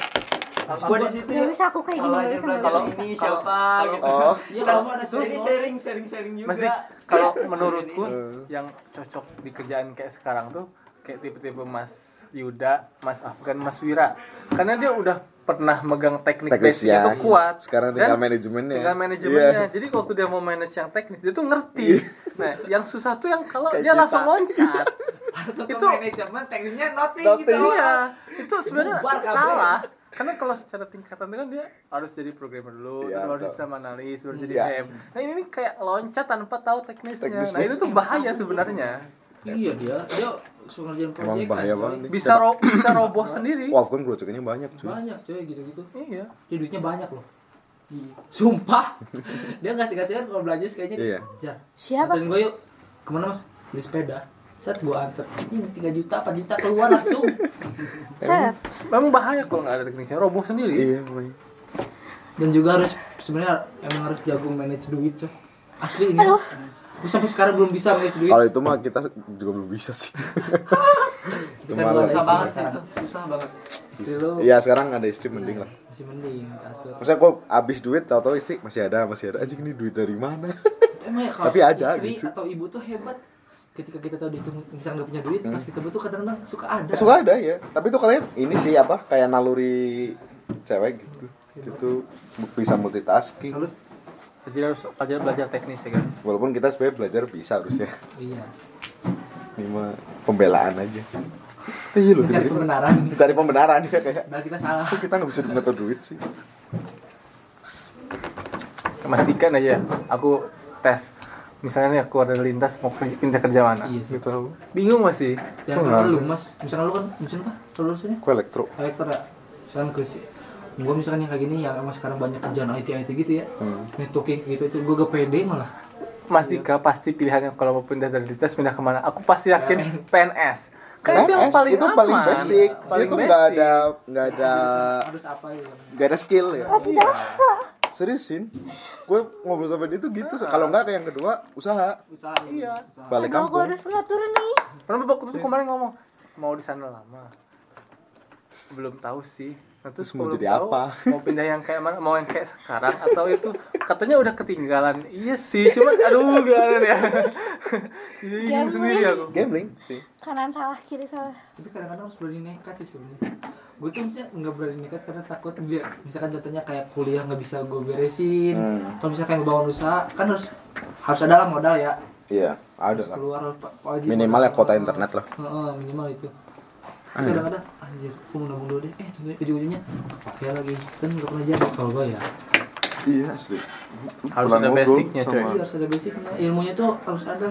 S8: Gue di situ
S2: planning. Gak bisa aku kayak gini.
S8: kalau
S2: gak
S8: ini
S2: bisa, gak
S8: kalau
S2: bisa.
S8: ini siapa gitu.
S3: Oh.
S6: Iya, kalau mau ada
S8: Tuh, ini sharing sharing sharing juga.
S1: Masih kalau menurutku yang cocok di kerjaan kayak sekarang tuh kayak tipe-tipe Mas Yuda, Mas Afgan, Mas Wira. Karena dia udah pernah megang teknik basic
S3: Teknisnya.
S1: itu kuat.
S3: ya. Sekarang
S1: Dan
S3: tinggal manajemennya.
S1: tinggal manajemennya.
S3: Iya.
S1: Jadi waktu dia mau manage yang teknis, dia tuh ngerti. Nah, yang susah tuh yang kalau
S3: Kayak
S1: dia
S3: kita.
S1: langsung loncat.
S6: masuk ke
S1: Itu-
S6: manajemen teknisnya nothing, gitu.
S1: Iya, itu sebenarnya
S6: Bubar kabel.
S1: salah. Karena kalau secara tingkatan itu kan dia harus jadi programmer dulu,
S3: Iya,
S1: baru harus
S3: betul.
S1: sistem analis, baru jadi
S3: Iya.
S1: PM. Nah ini nih kayak loncat tanpa tahu teknisnya. Nah
S3: Teknisnya.
S1: itu tuh bahaya sebenarnya.
S6: Iya dia, dia suka ngerjain kan, proyek.
S3: Emang bahaya
S5: gitu.
S3: banget. nih.
S1: Bisa ro bisa roboh sendiri.
S3: Iya. Wah, kan kerucukannya banyak cuy.
S6: Banyak coy gitu-gitu.
S1: Iya.
S6: Dia duitnya banyak loh.
S8: Iya.
S6: Sumpah. dia ngasih kasihan kalau belanja kayaknya.
S3: Iya.
S6: Jar,
S2: Siapa?
S6: anterin gue yuk. Kemana mas? Beli sepeda. Set gue anter. Ini 3 juta, 4 juta keluar langsung.
S2: Set.
S1: Emang bahaya kalau nggak ada teknisnya, roboh sendiri.
S3: Iya, banyak.
S6: Dan juga harus sebenarnya emang harus jago manage duit coy. Asli ini.
S2: Aduh.
S6: Gue sampai sekarang belum bisa manage duit.
S3: Kalau itu mah kita juga belum bisa sih. itu
S6: Kita
S3: malah.
S8: susah
S6: Istri
S8: banget sih
S6: sekarang.
S8: itu. Susah banget.
S6: Istri lu
S3: Iya, sekarang ada istri mending lah.
S6: masih mending atur.
S3: Maksudnya kok abis duit tahu-tahu istri masih ada, masih ada. Anjing ini duit dari mana?
S6: Emang ya kalau
S3: Tapi ada,
S6: istri
S3: gitu.
S6: atau ibu tuh hebat ketika kita tahu dia tuh misalnya nggak punya duit pas kita butuh kadang-kadang suka ada
S3: Hmm. Suka ada ya. Tapi tuh kalian ini sih apa kayak naluri cewek gitu. Itu bisa multitasking.
S6: Salut.
S1: Jadi harus belajar belajar teknis ya kan.
S3: Walaupun kita sebenarnya belajar bisa harusnya.
S6: iya
S3: Ini mah pembelaan aja. Iya lu
S6: mencari
S3: dengerin.
S6: kebenaran
S3: Cari pembenaran ya kayak.
S6: nah kita salah
S3: Kok kita nggak bisa ngatur duit sih?
S1: Kemastikan aja. Aku tes. Misalnya nih aku ada lintas mau kerja- pindah kerja mana.
S6: iya sih
S3: tahu.
S1: Bingung masih.
S6: jangan
S3: Oh,
S6: kata
S3: nggak.
S6: lu mas misalnya lu kan misalnya apa lulusannya
S3: Aku elektro.
S6: elektro ya misalkan gue sih gue misalkan yang kayak gini yang emang sekarang banyak kerjaan IT IT gitu ya
S3: Hmm.
S6: networking gitu itu gue gak pede malah
S1: Mas
S3: Iya.
S1: Dika pasti pilihannya kalau mau pindah dari dinas pindah kemana? Aku pasti
S3: Iya.
S1: yakin PNS. Kan itu yang
S3: PNS
S1: paling
S3: itu
S1: aman.
S3: paling basic.
S1: Paling
S3: itu nggak
S1: basic.
S3: ada nggak ada
S6: harus apa ya
S3: nggak ada skill ya.
S1: Iya.
S3: Seriusin. Gue ngobrol sama dia tuh gitu. Kalau nggak kayak yang kedua usaha
S8: Susah.
S1: Iya.
S3: balik
S2: Aduh, aku
S3: kampung.
S2: harus ngatur nih.
S1: Karena bapak
S3: Iya.
S1: tuh kemarin ngomong mau di sana lama. Belum tahu sih. Nah,
S3: Terus mau
S1: belum
S3: jadi
S1: tahu,
S3: apa?
S1: Mau pindah yang kayak mana? Mau yang kayak sekarang atau itu katanya udah ketinggalan. Iya sih, cuma aduh gimana ya. Jadi bingung
S2: Gambling.
S1: sendiri aku.
S3: Gambling sih.
S2: Kanan salah, kiri salah.
S6: tapi kadang-kadang harus berani nekat sih sebenarnya gue tuh misalnya nggak berani nekat karena takut dia misalkan contohnya kayak kuliah nggak bisa gue beresin
S3: Hmm.
S6: kalau misalkan bangun usaha kan harus harus ada lah modal ya
S3: Iya, ada
S6: harus
S3: lah.
S6: keluar apa- apalagi
S3: Minimal
S6: modal.
S3: ya kuota internet lah.
S6: Heeh, minimal itu kadang-kadang anjir aku mau nabung dulu deh eh ternyata ujung-ujungnya kayak lagi kan nggak pernah jadi kalau gue ya
S3: Iya, asli.
S1: Harus
S3: Pulang
S1: ada
S3: ngobrol
S1: basicnya,
S3: sama-
S1: coy.
S6: Iya, harus ada basicnya ilmunya tuh harus ada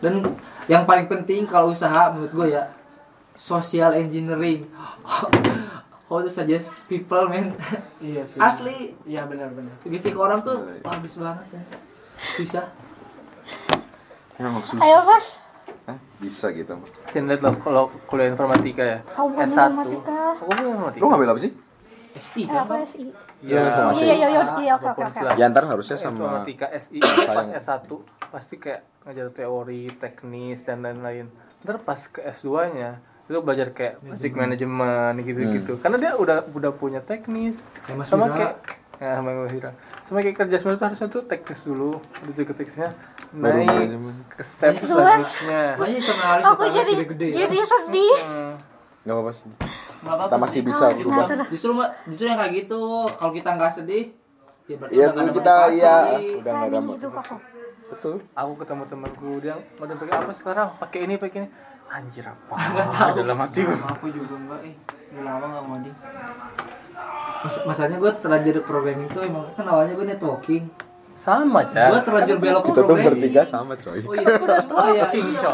S6: dan yang paling penting kalau usaha menurut gue ya social engineering how to suggest people men
S8: Iya sih.
S6: asli
S8: Iya benar-benar.
S6: sugesti ke orang tuh
S3: Iya,
S6: wah, habis banget ya susah
S3: Emang susah.
S2: Ayo, Mas.
S3: Iya, Hah? Bisa gitu.
S1: Saya lihat loh kalau kuliah informatika ya.
S2: Aku
S3: Eh,
S2: bukan
S1: S1.
S2: informatika.
S1: Aku bukan informatika.
S3: Lu ngambil apa sih?
S6: SI
S2: Eh,
S6: kan
S2: apa SI?
S1: Iya,
S2: Oh,
S3: Informasi.
S2: Iya, iya, iya, iya, oke, oke, oke.
S3: Ya ntar harusnya sama
S1: informatika SI pas
S3: Sayang.
S1: S1 pasti kayak ngajar teori, teknis dan lain-lain. Ntar pas ke S2-nya itu belajar kayak project management gitu-gitu.
S3: Hmm.
S1: Karena dia udah udah punya teknis.
S6: Kayak Mas
S1: sama
S6: Wira.
S1: kayak ya, sama Mas Wira. Sama kayak kerja sebenarnya tuh harusnya tuh teknis dulu, udah ke teknisnya
S3: Baru
S1: naik
S3: manajemen.
S1: ke step
S6: Terus?
S1: selanjutnya.
S6: makanya setengah hari
S2: Aku
S6: setengah
S2: jadi
S6: hari gede-gede
S1: iya,
S6: ya
S2: jadi sedih.
S1: Hmm.
S3: nggak apa-apa sih.
S8: Enggak apa-apa.
S3: Kita masih bisa berubah.
S6: justru Mbak, justru yang kayak gitu kalau kita nggak sedih ya berarti
S3: Iya
S6: nggak
S3: tuh
S6: ada
S3: kita
S6: motivasi.
S3: ya udah nggak ada
S2: Planning hidup aku.
S3: betul.
S1: Aku ketemu temanku dia mau pakai apa sekarang? Pakai ini, pakai ini. anjir apa nggak dalam hati gue
S8: Sama aku juga enggak eh udah lama nggak mau di
S6: Mas- masalahnya gue terlanjur programming itu emang kan awalnya gue networking
S1: sama
S6: gue
S1: aja
S6: terlanjur belok ke
S3: Iya. Kita tuh
S6: programming
S3: bertiga sama coy.
S6: oh iya gue udah tua ya
S3: Iya.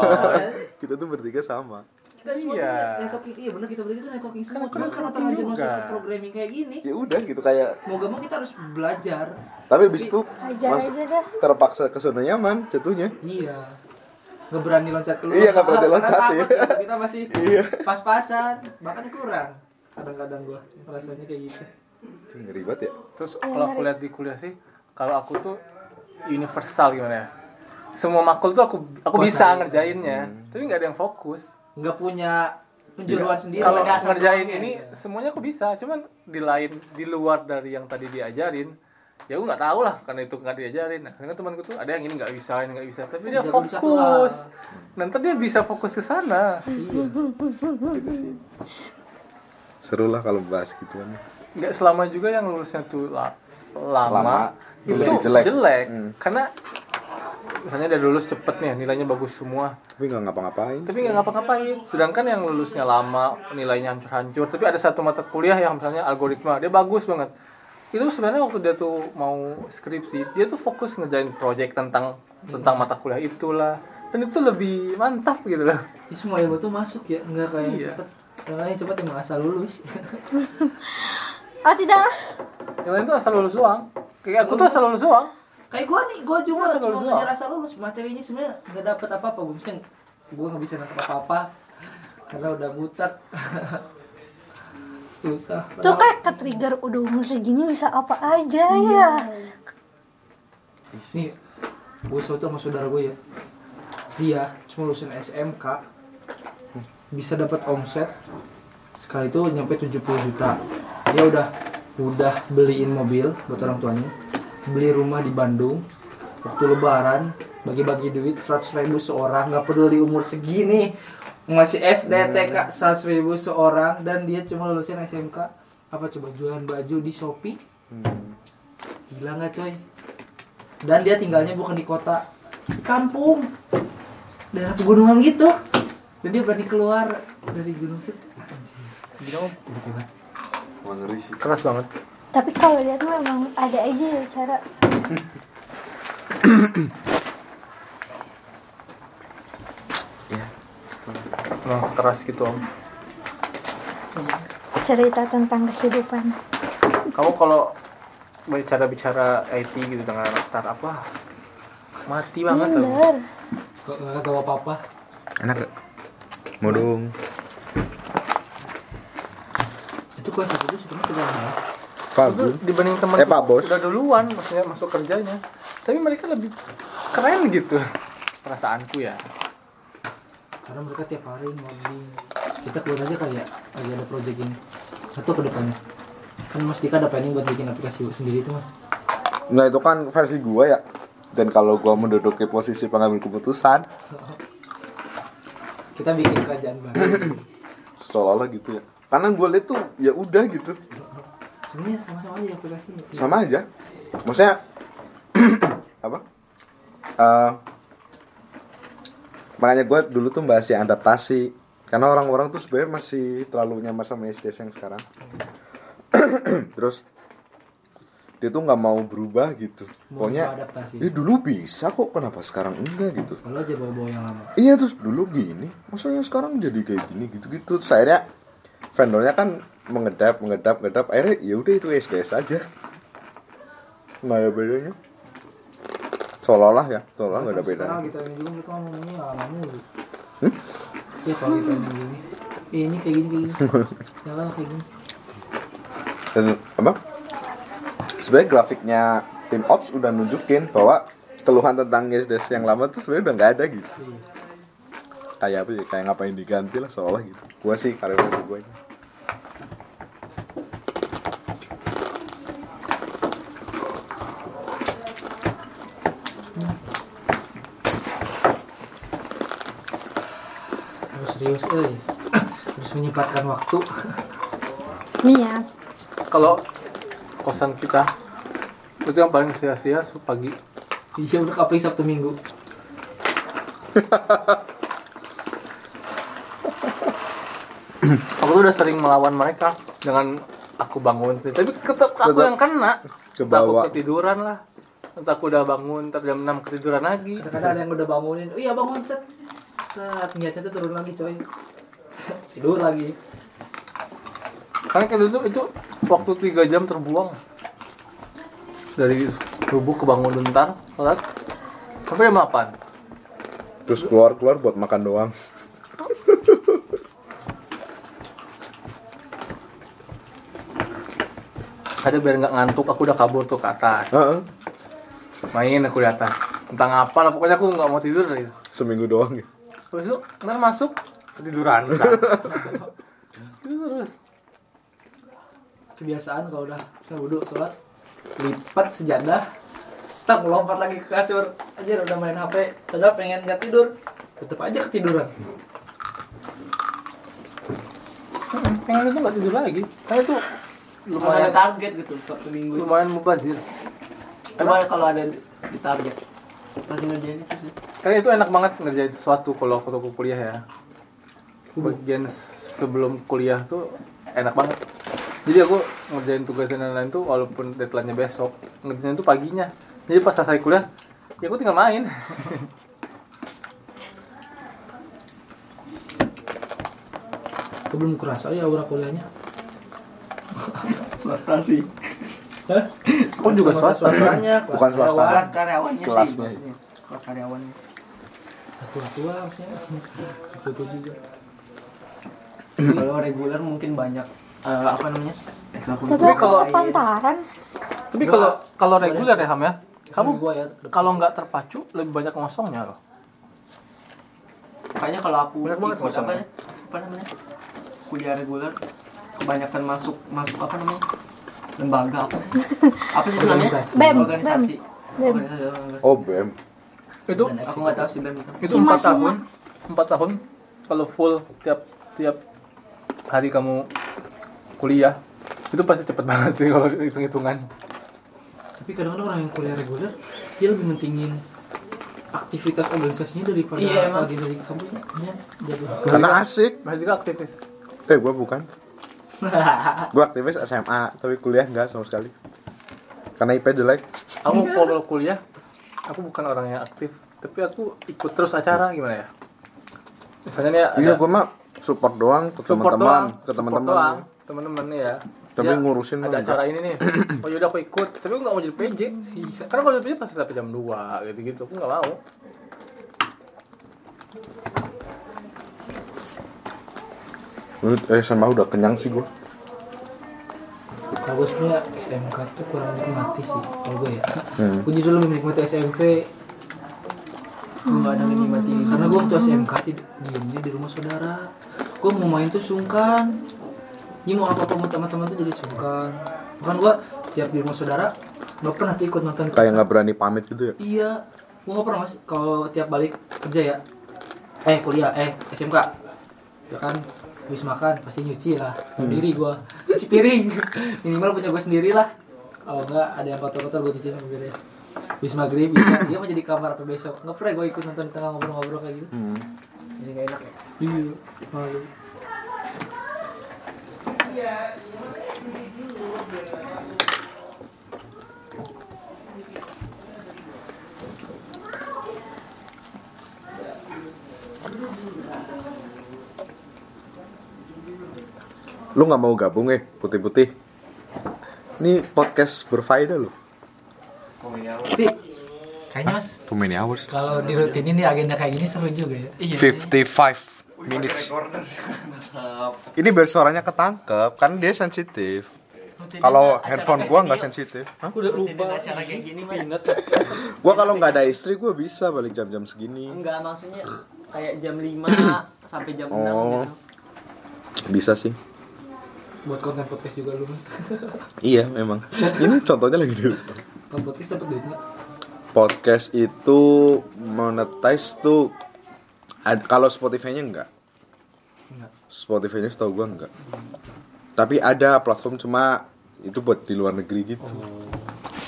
S3: Kita tuh bertiga sama.
S6: kita semua
S1: Iya.
S6: tuh networking iya bener kita bertiga tuh networking
S1: Kan
S6: semua cuma karena
S1: networking
S6: terlanjur masuk
S1: juga.
S6: ke programming kayak gini
S3: Ya udah gitu kayak
S6: mau gak mau kita harus belajar
S3: tapi habis itu
S2: Ajar
S3: mas
S2: aja dah.
S3: terpaksa ke zona nyaman jatuhnya.
S6: iya nggak berani loncat keluar
S3: Iya, nggak berani
S6: Karena
S3: loncat,
S6: takut,
S3: iya.
S6: ya. kita masih
S3: Iya.
S6: pas-pasan bahkan kurang kadang-kadang gue rasanya kayak gitu
S3: Ngeri banget ya.
S1: terus kalau aku lihat di kuliah sih kalau aku tuh universal gimana ya semua makul tuh aku aku bisa ngerjainnya tapi nggak ada yang fokus
S6: nggak punya penjuruan
S3: Iya.
S6: sendiri
S1: kalau
S6: nggak dasar
S1: ngerjain
S6: doangnya.
S1: ini
S6: Iya.
S1: semuanya aku bisa cuman di lain di luar dari yang tadi diajarin ya gue nggak tahu lah karena itu nggak diajarin nah karena temanku tuh ada yang ini nggak bisa ini nggak bisa tapi dia
S6: Jago di satu
S1: fokus
S6: hal.
S1: nanti dia bisa fokus ke sana
S6: iya.
S3: Gitu sih. Seru lah kalau bahas gitu kan. gituan.
S1: nggak selama juga yang lulusnya tuh la-
S3: Lama,
S1: lama,
S3: jelek.
S1: itu
S3: Jelek.
S1: jelek,
S3: Hmm.
S1: karena misalnya dia lulus cepet nih nilainya bagus semua
S3: Tapi nggak ngapa-ngapain.
S1: tapi nggak ngapa-ngapain sedangkan yang lulusnya lama nilainya hancur-hancur tapi ada satu mata kuliah yang misalnya algoritma dia bagus banget itu sebenarnya waktu dia tuh mau skripsi dia tuh fokus ngerjain project tentang tentang mata kuliah itulah dan itu lebih mantap gitu loh
S6: Ini semua ilmu tuh masuk ya nggak kayak yang
S1: Iya.
S6: cepet yang lain cepet emang asal lulus
S2: Ah tidak.
S1: yang lain tuh asal lulus doang kayak aku tuh asal lulus doang
S6: kayak gue nih gue cuma
S1: Asal
S6: cuma
S1: lulus
S6: ngejar
S1: doang.
S6: asal lulus materinya sebenarnya nggak dapet apa apa gue misalnya gue nggak bisa nangkep apa apa karena udah butak susah
S2: Tuh kan kayak ke trigger udah umur segini bisa apa aja
S3: Iya.
S2: ya.
S6: nih gue tuh sama saudara gue ya dia cuma lulusan SMK bisa dapat omset sekali itu nyampe 70 juta dia udah udah beliin mobil buat orang tuanya beli rumah di Bandung waktu lebaran bagi-bagi duit 100.000 ribu seorang nggak peduli umur segini masih SD TK 100 ribu seorang dan dia cuma lulusan SMK apa coba jualan baju di Shopee gila nggak coy dan dia tinggalnya bukan di kota di kampung daerah pegunungan gitu dan dia berani keluar dari gunung set anjir gila om
S3: Wah, ngeri sih.
S1: keras banget
S2: Tapi kalau lihat mah emang ada aja ya cara.
S1: nah, keras gitu om
S2: cerita tentang kehidupan
S1: kamu kalau bicara bicara IT gitu dengan anak startup wah mati banget loh
S2: bener
S6: kok nggak tahu apa apa
S3: Enak gak? Mau dong.
S6: itu kelas satu itu sebenarnya sudah mahal
S3: Pak
S1: Itu
S3: Gun.
S1: dibanding teman
S3: Eh, Pak Bos.
S1: udah duluan maksudnya masuk kerjanya tapi mereka lebih keren gitu perasaanku ya
S6: karena mereka tiap hari ngoding kita keluar aja kali ya lagi ada project ini satu ke depannya kan mas Dika ada planning buat bikin aplikasi sendiri itu mas
S3: Nah itu kan versi gua ya. Dan kalau gua menduduki posisi pengambil keputusan,
S6: kita bikin kerajaan baru
S3: seolah-olah gitu ya. Karena gua lihat tuh ya udah gitu,
S6: sebenarnya sama-sama aja aplikasinya
S3: sama aja. Maksudnya apa? Eh, makanya gua dulu tuh bahas yang adaptasi. Karena orang-orang tuh sebenarnya masih terlalu nyaman sama SDS yang sekarang. Terus dia tuh nggak mau berubah gitu.
S6: Mau
S3: Pokoknya
S6: adaptasi
S3: dia dulu bisa kok, kenapa sekarang enggak gitu?
S6: kalau aja bawa-bawa yang lama
S3: Iya terus dulu gini, maksudnya sekarang jadi kayak gini gitu-gitu. Terus akhirnya vendornya kan mengedap, mengedap, mengedap. Akhirnya ya udah itu SDS aja. Nggak ada bedanya. Seolah-olah ya, seolah nggak ada bedanya.
S6: Sekarang gitu. kita ini juga mereka ngomongnya nggak lama mulu. Iya kalau kita ini gini. Ih, ini kayak gini kayak gini. Jalan kayak gini.
S3: Dan apa? Sebenarnya grafiknya tim ops udah nunjukin bahwa keluhan tentang SDS yang lama tuh sebenarnya udah nggak ada gitu.
S6: Iya.
S3: Kayak apa ya? Kayak ngapain diganti lah seolah gitu. Gua sih karirnya gue ini.
S6: Harus serius eh. Harus menyempatkan waktu.
S2: niat
S1: kalau kosan kita itu yang paling sia-sia su- pagi
S6: Iya udah kapri Sabtu Minggu.
S1: aku tuh udah sering melawan mereka dengan aku bangun tapi tetap aku
S3: Tetep
S1: yang kena Entah aku
S3: kebawa.
S1: ketiduran lah entah aku udah bangun ntar jam 6 ketiduran lagi
S6: Kadang-kadang ada yang udah bangunin, oh iya bangun set. Set, niatnya tuh turun lagi coy. Tidur lagi.
S1: karena kayak dulu itu waktu 3 jam terbuang dari subuh ke bangun bentar sholat sampai jam 8
S3: Terus keluar-keluar buat makan doang.
S1: ada biar nggak ngantuk aku udah kabur tuh ke atas
S3: Heeh,
S1: main aku di atas tentang apa lah pokoknya aku nggak mau tidur gitu
S3: seminggu doang ya.
S1: habis itu ntar masuk ketiduran Nah, udah. gitu terus
S6: Kebiasaan kalau udah saya wudhu sholat lipat sejadah tak lompat lagi ke kasur aja udah main HP padahal pengen nggak tidur tetep aja ketiduran
S1: Mm-mm, pengen itu nggak tidur lagi karena itu
S8: Harus ada
S1: lumayan
S8: target gitu satu minggu.
S1: lumayan mubazir
S8: Coba kalau ada di target. Pasti ngerjain itu sih.
S1: karena itu enak banget ngerjain sesuatu kalau waktu aku kuliah ya bagian sebelum kuliah tuh enak banget jadi aku ngerjain tugas dan lain-lain tuh walaupun deadline-nya besok ngerjain tuh paginya jadi pas selesai kuliah ya aku tinggal main
S6: aku belum kerasa ya aura kuliahnya
S8: Swasta sih.
S1: aku juga swasta
S6: banyak
S3: Bukan
S8: Kelas
S3: swasta.
S8: karyawannya
S3: Kelasnya.
S8: sih. maksudnya. Kelas karyawannya.
S6: tua tua maksudnya tua juga
S8: kalau reguler mungkin banyak eh, apa namanya?
S2: Tapi
S8: Ekstrakurikuler.
S2: aku sepantaran.
S1: tapi kalau kalau reguler ya ham ya kamu
S6: gua ya
S1: kalau nggak terpacu lebih banyak ngosongnya loh
S8: Makanya kalau aku
S1: Banyak banget
S8: ikut apa,
S1: masalahnya.
S8: ya, apa namanya? Kuliah reguler kebanyakan masuk masuk apa namanya? Lembaga apa? Apa sih itu namanya?
S6: Organisasi.
S2: BEM,
S8: Organisasi.
S2: BEM.
S8: Organisasi, organisasi.
S3: Oh, BM.
S1: itu
S8: Aku nggak tahu sih BEM itu.
S1: itu
S2: Cuma-
S1: empat tahun Iya. empat tahun kalau full tiap tiap hari kamu kuliah itu pasti cepet banget sih kalau hitung hitungan
S6: tapi kadang-kadang orang yang kuliah reguler dia lebih mentingin aktivitas organisasinya daripada
S8: Iya, emang.
S6: pagi dari kampusnya Iya, dia bilang.
S3: Karena asik.
S1: masih juga aktivis
S3: Eh, gua bukan. Gua aktivis SMA, tapi kuliah enggak sama sekali. Karena IP jelek.
S1: aku kalau kuliah aku bukan orang yang aktif tapi aku ikut terus acara gimana ya misalnya nih ada
S3: Iya, gua mah support doang ke
S1: support doang,
S3: teman-teman, ke
S1: support doang,
S3: teman-teman.
S1: teman-teman ya Ya,
S3: Tapi ngurusin mah
S1: ada
S3: enggak.
S1: acara ini nih oh yaudah aku ikut tapi aku nggak mau jadi PJ karena kalau jadi PJ pasti sampai jam 2 gitu gitu aku nggak mau
S3: Menurut eh, SMA udah kenyang sih gua.
S6: Kalau gue sebenarnya SMK tuh kurang menikmati sih kalau gue ya.
S3: Hmm.
S6: Gue justru lebih menikmati SMP
S8: Gue nggak ada menikmati
S6: karena gue waktu SMK tid- diemnya di rumah saudara. Gue mau main tuh sungkan. Ini mau apa-apa mau teman-teman tuh jadi sungkan. Bahkan gue tiap di rumah saudara nggak pernah tuh ikut nonton.
S3: Kayak nggak berani pamit gitu ya.
S6: Iya, gue nggak pernah mas. Kalau tiap balik kerja ya, eh kuliah, eh SMK, ya kan habis makan pasti nyuci lah sendiri gua cuci piring minimal punya gua sendiri lah kalau enggak ada yang kotor-kotor gua cuciin sampai beres habis maghrib ya, dia mau jadi kamar apa besok nggak pernah gua ikut nonton di tengah ngobrol-ngobrol kayak gitu
S8: jadi nggak enak.
S6: iya malu
S3: Lu nggak mau gabung eh, putih-putih. Ini podcast berfaedah loh.
S6: tapi kayaknya mas
S3: Too many hours.
S6: kalau dirutinin di agenda kayak gini seru juga ya
S3: 55 minutes. Ini biar suaranya ketangkep, kan dia sensitif. Kalau handphone gua nggak sensitif. Hah?
S1: aku udah lupa
S8: Acara kayak gini mas.
S1: ingat
S3: Gua kalau nggak ada istri gua bisa balik jam-jam segini.
S8: Enggak maksudnya kayak jam 5 sampai jam 6
S3: Oh.
S8: gitu.
S3: Bisa sih.
S6: buat konten podcast juga lu mas
S3: Iya, memang. Ini contohnya lagi dulu.
S6: kalau podcast dapat duitnya
S3: Podcast itu monetize tuh ad- kalau Spotify-nya enggak.
S6: enggak
S3: Spotify-nya setahu gua enggak. Tapi ada platform cuma itu buat di luar negeri gitu.
S6: Oh.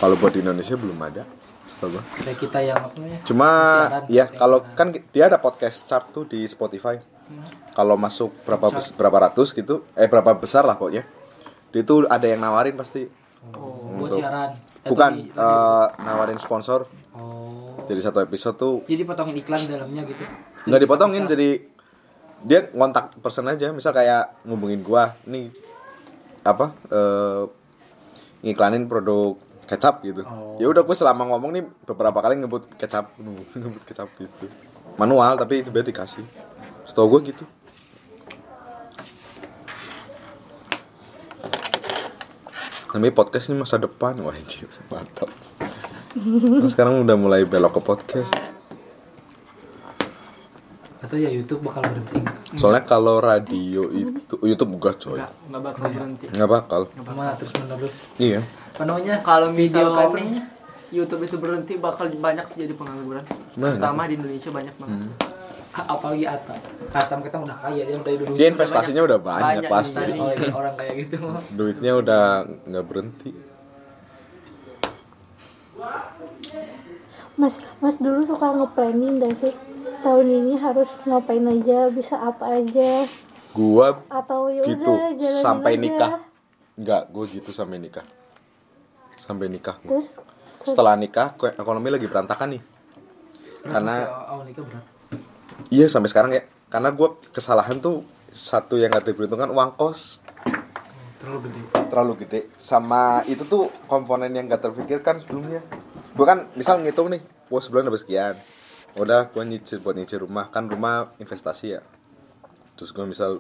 S3: Kalau buat di Indonesia belum ada, setahu gua.
S6: kayak kita yang apa namanya
S3: Cuma
S6: Siaran.
S3: ya kalau kan dia ada podcast chart tuh di Spotify.
S6: Hmm.
S3: kalau masuk berapa bes- berapa ratus gitu eh berapa besar lah pokoknya itu ada yang nawarin pasti
S6: Oh. buat
S3: Untuk-
S6: siaran Atau
S3: bukan
S6: di-
S3: eh, nawarin sponsor
S6: oh
S3: jadi satu episode tuh
S6: jadi potongin iklan dalamnya gitu
S3: nggak dipotongin jadi dia kontak person aja misal kayak ngubungin gua nih apa eh ngiklanin produk kecap gitu ya udah gue selama ngomong nih beberapa kali ngebut kecap ngebut kecap gitu manual tapi sebenarnya dikasih setahu gue gitu namanya podcast ini masa depan wah anjir, mantap Nah, sekarang udah mulai belok ke podcast
S6: atau ya YouTube bakal berhenti
S3: Soalnya kalau radio itu YouTube enggak coy.
S8: Nggak, nggak bakal berhenti.
S3: Enggak bakal.
S6: cuma terus menerus
S3: Iya.
S6: apa namanya
S8: Kalau
S6: video
S8: misalkan
S6: cover
S8: nih, YouTube itu berhenti bakal banyak sih jadi pengangguran.
S3: Banyak.
S8: Terutama di Indonesia banyak banget.
S6: apalagi Atam Atam kita udah kaya dia dari dulu
S3: Dia investasinya udah banyak,
S8: Banyak
S3: pasti.
S8: investasi.
S6: oleh orang kayak gitu
S3: Duitnya udah nggak berhenti.
S2: Mas, mas dulu suka nge-planning gak sih? Tahun ini harus ngapain aja, bisa apa aja
S3: Gua
S2: Atau ya
S3: gitu
S2: udah jalanin
S3: sampai
S2: aja.
S3: nikah. Enggak, gua gitu sampai nikah. Sampai nikah. gua.
S2: Terus se-
S3: Setelah nikah ko- ekonomi lagi berantakan nih. Karena
S6: awal Oh, nikah berat
S3: iya sampai sekarang ya. Karena gua kesalahan tuh satu yang nggak diperhitungkan uang kos
S6: terlalu gede
S3: terlalu gede sama itu tuh komponen yang gak terpikirkan sebelumnya gue kan misal ngitung nih wah sebulan dapat sekian udah gue nyicil buat nyicil rumah kan rumah investasi ya terus gue misal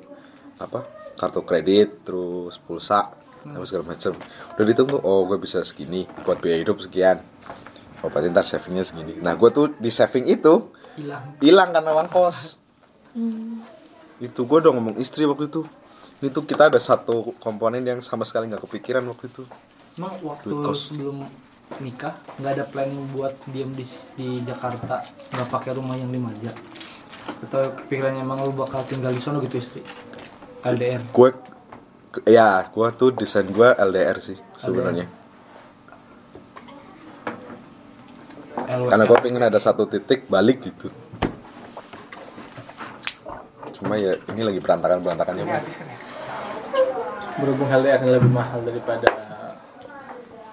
S3: apa kartu kredit terus pulsa
S6: Hmm.
S3: apa segala macam udah ditunggu oh gue bisa segini buat biaya hidup sekian oh berarti ntar savingnya segini nah gue tuh di saving itu
S6: hilang
S3: hilang karena uang kos Hmm. itu gue udah ngomong istri waktu itu ini tuh kita ada satu komponen yang sama sekali nggak kepikiran waktu itu
S6: emang waktu
S3: Duit
S6: lu
S3: kos.
S6: sebelum nikah nggak ada plan buat diam di, di Jakarta nggak pakai rumah yang dimanjat atau kepikirannya emang lu bakal tinggal di sana gitu istri LDR
S3: gue ya gue tuh desain gue LDR sih sebenarnya
S6: LW
S3: karena gue pengen ada satu titik balik gitu cuma ya ini lagi ya, berantakan berantakannya
S1: berhubung LDR nya lebih mahal daripada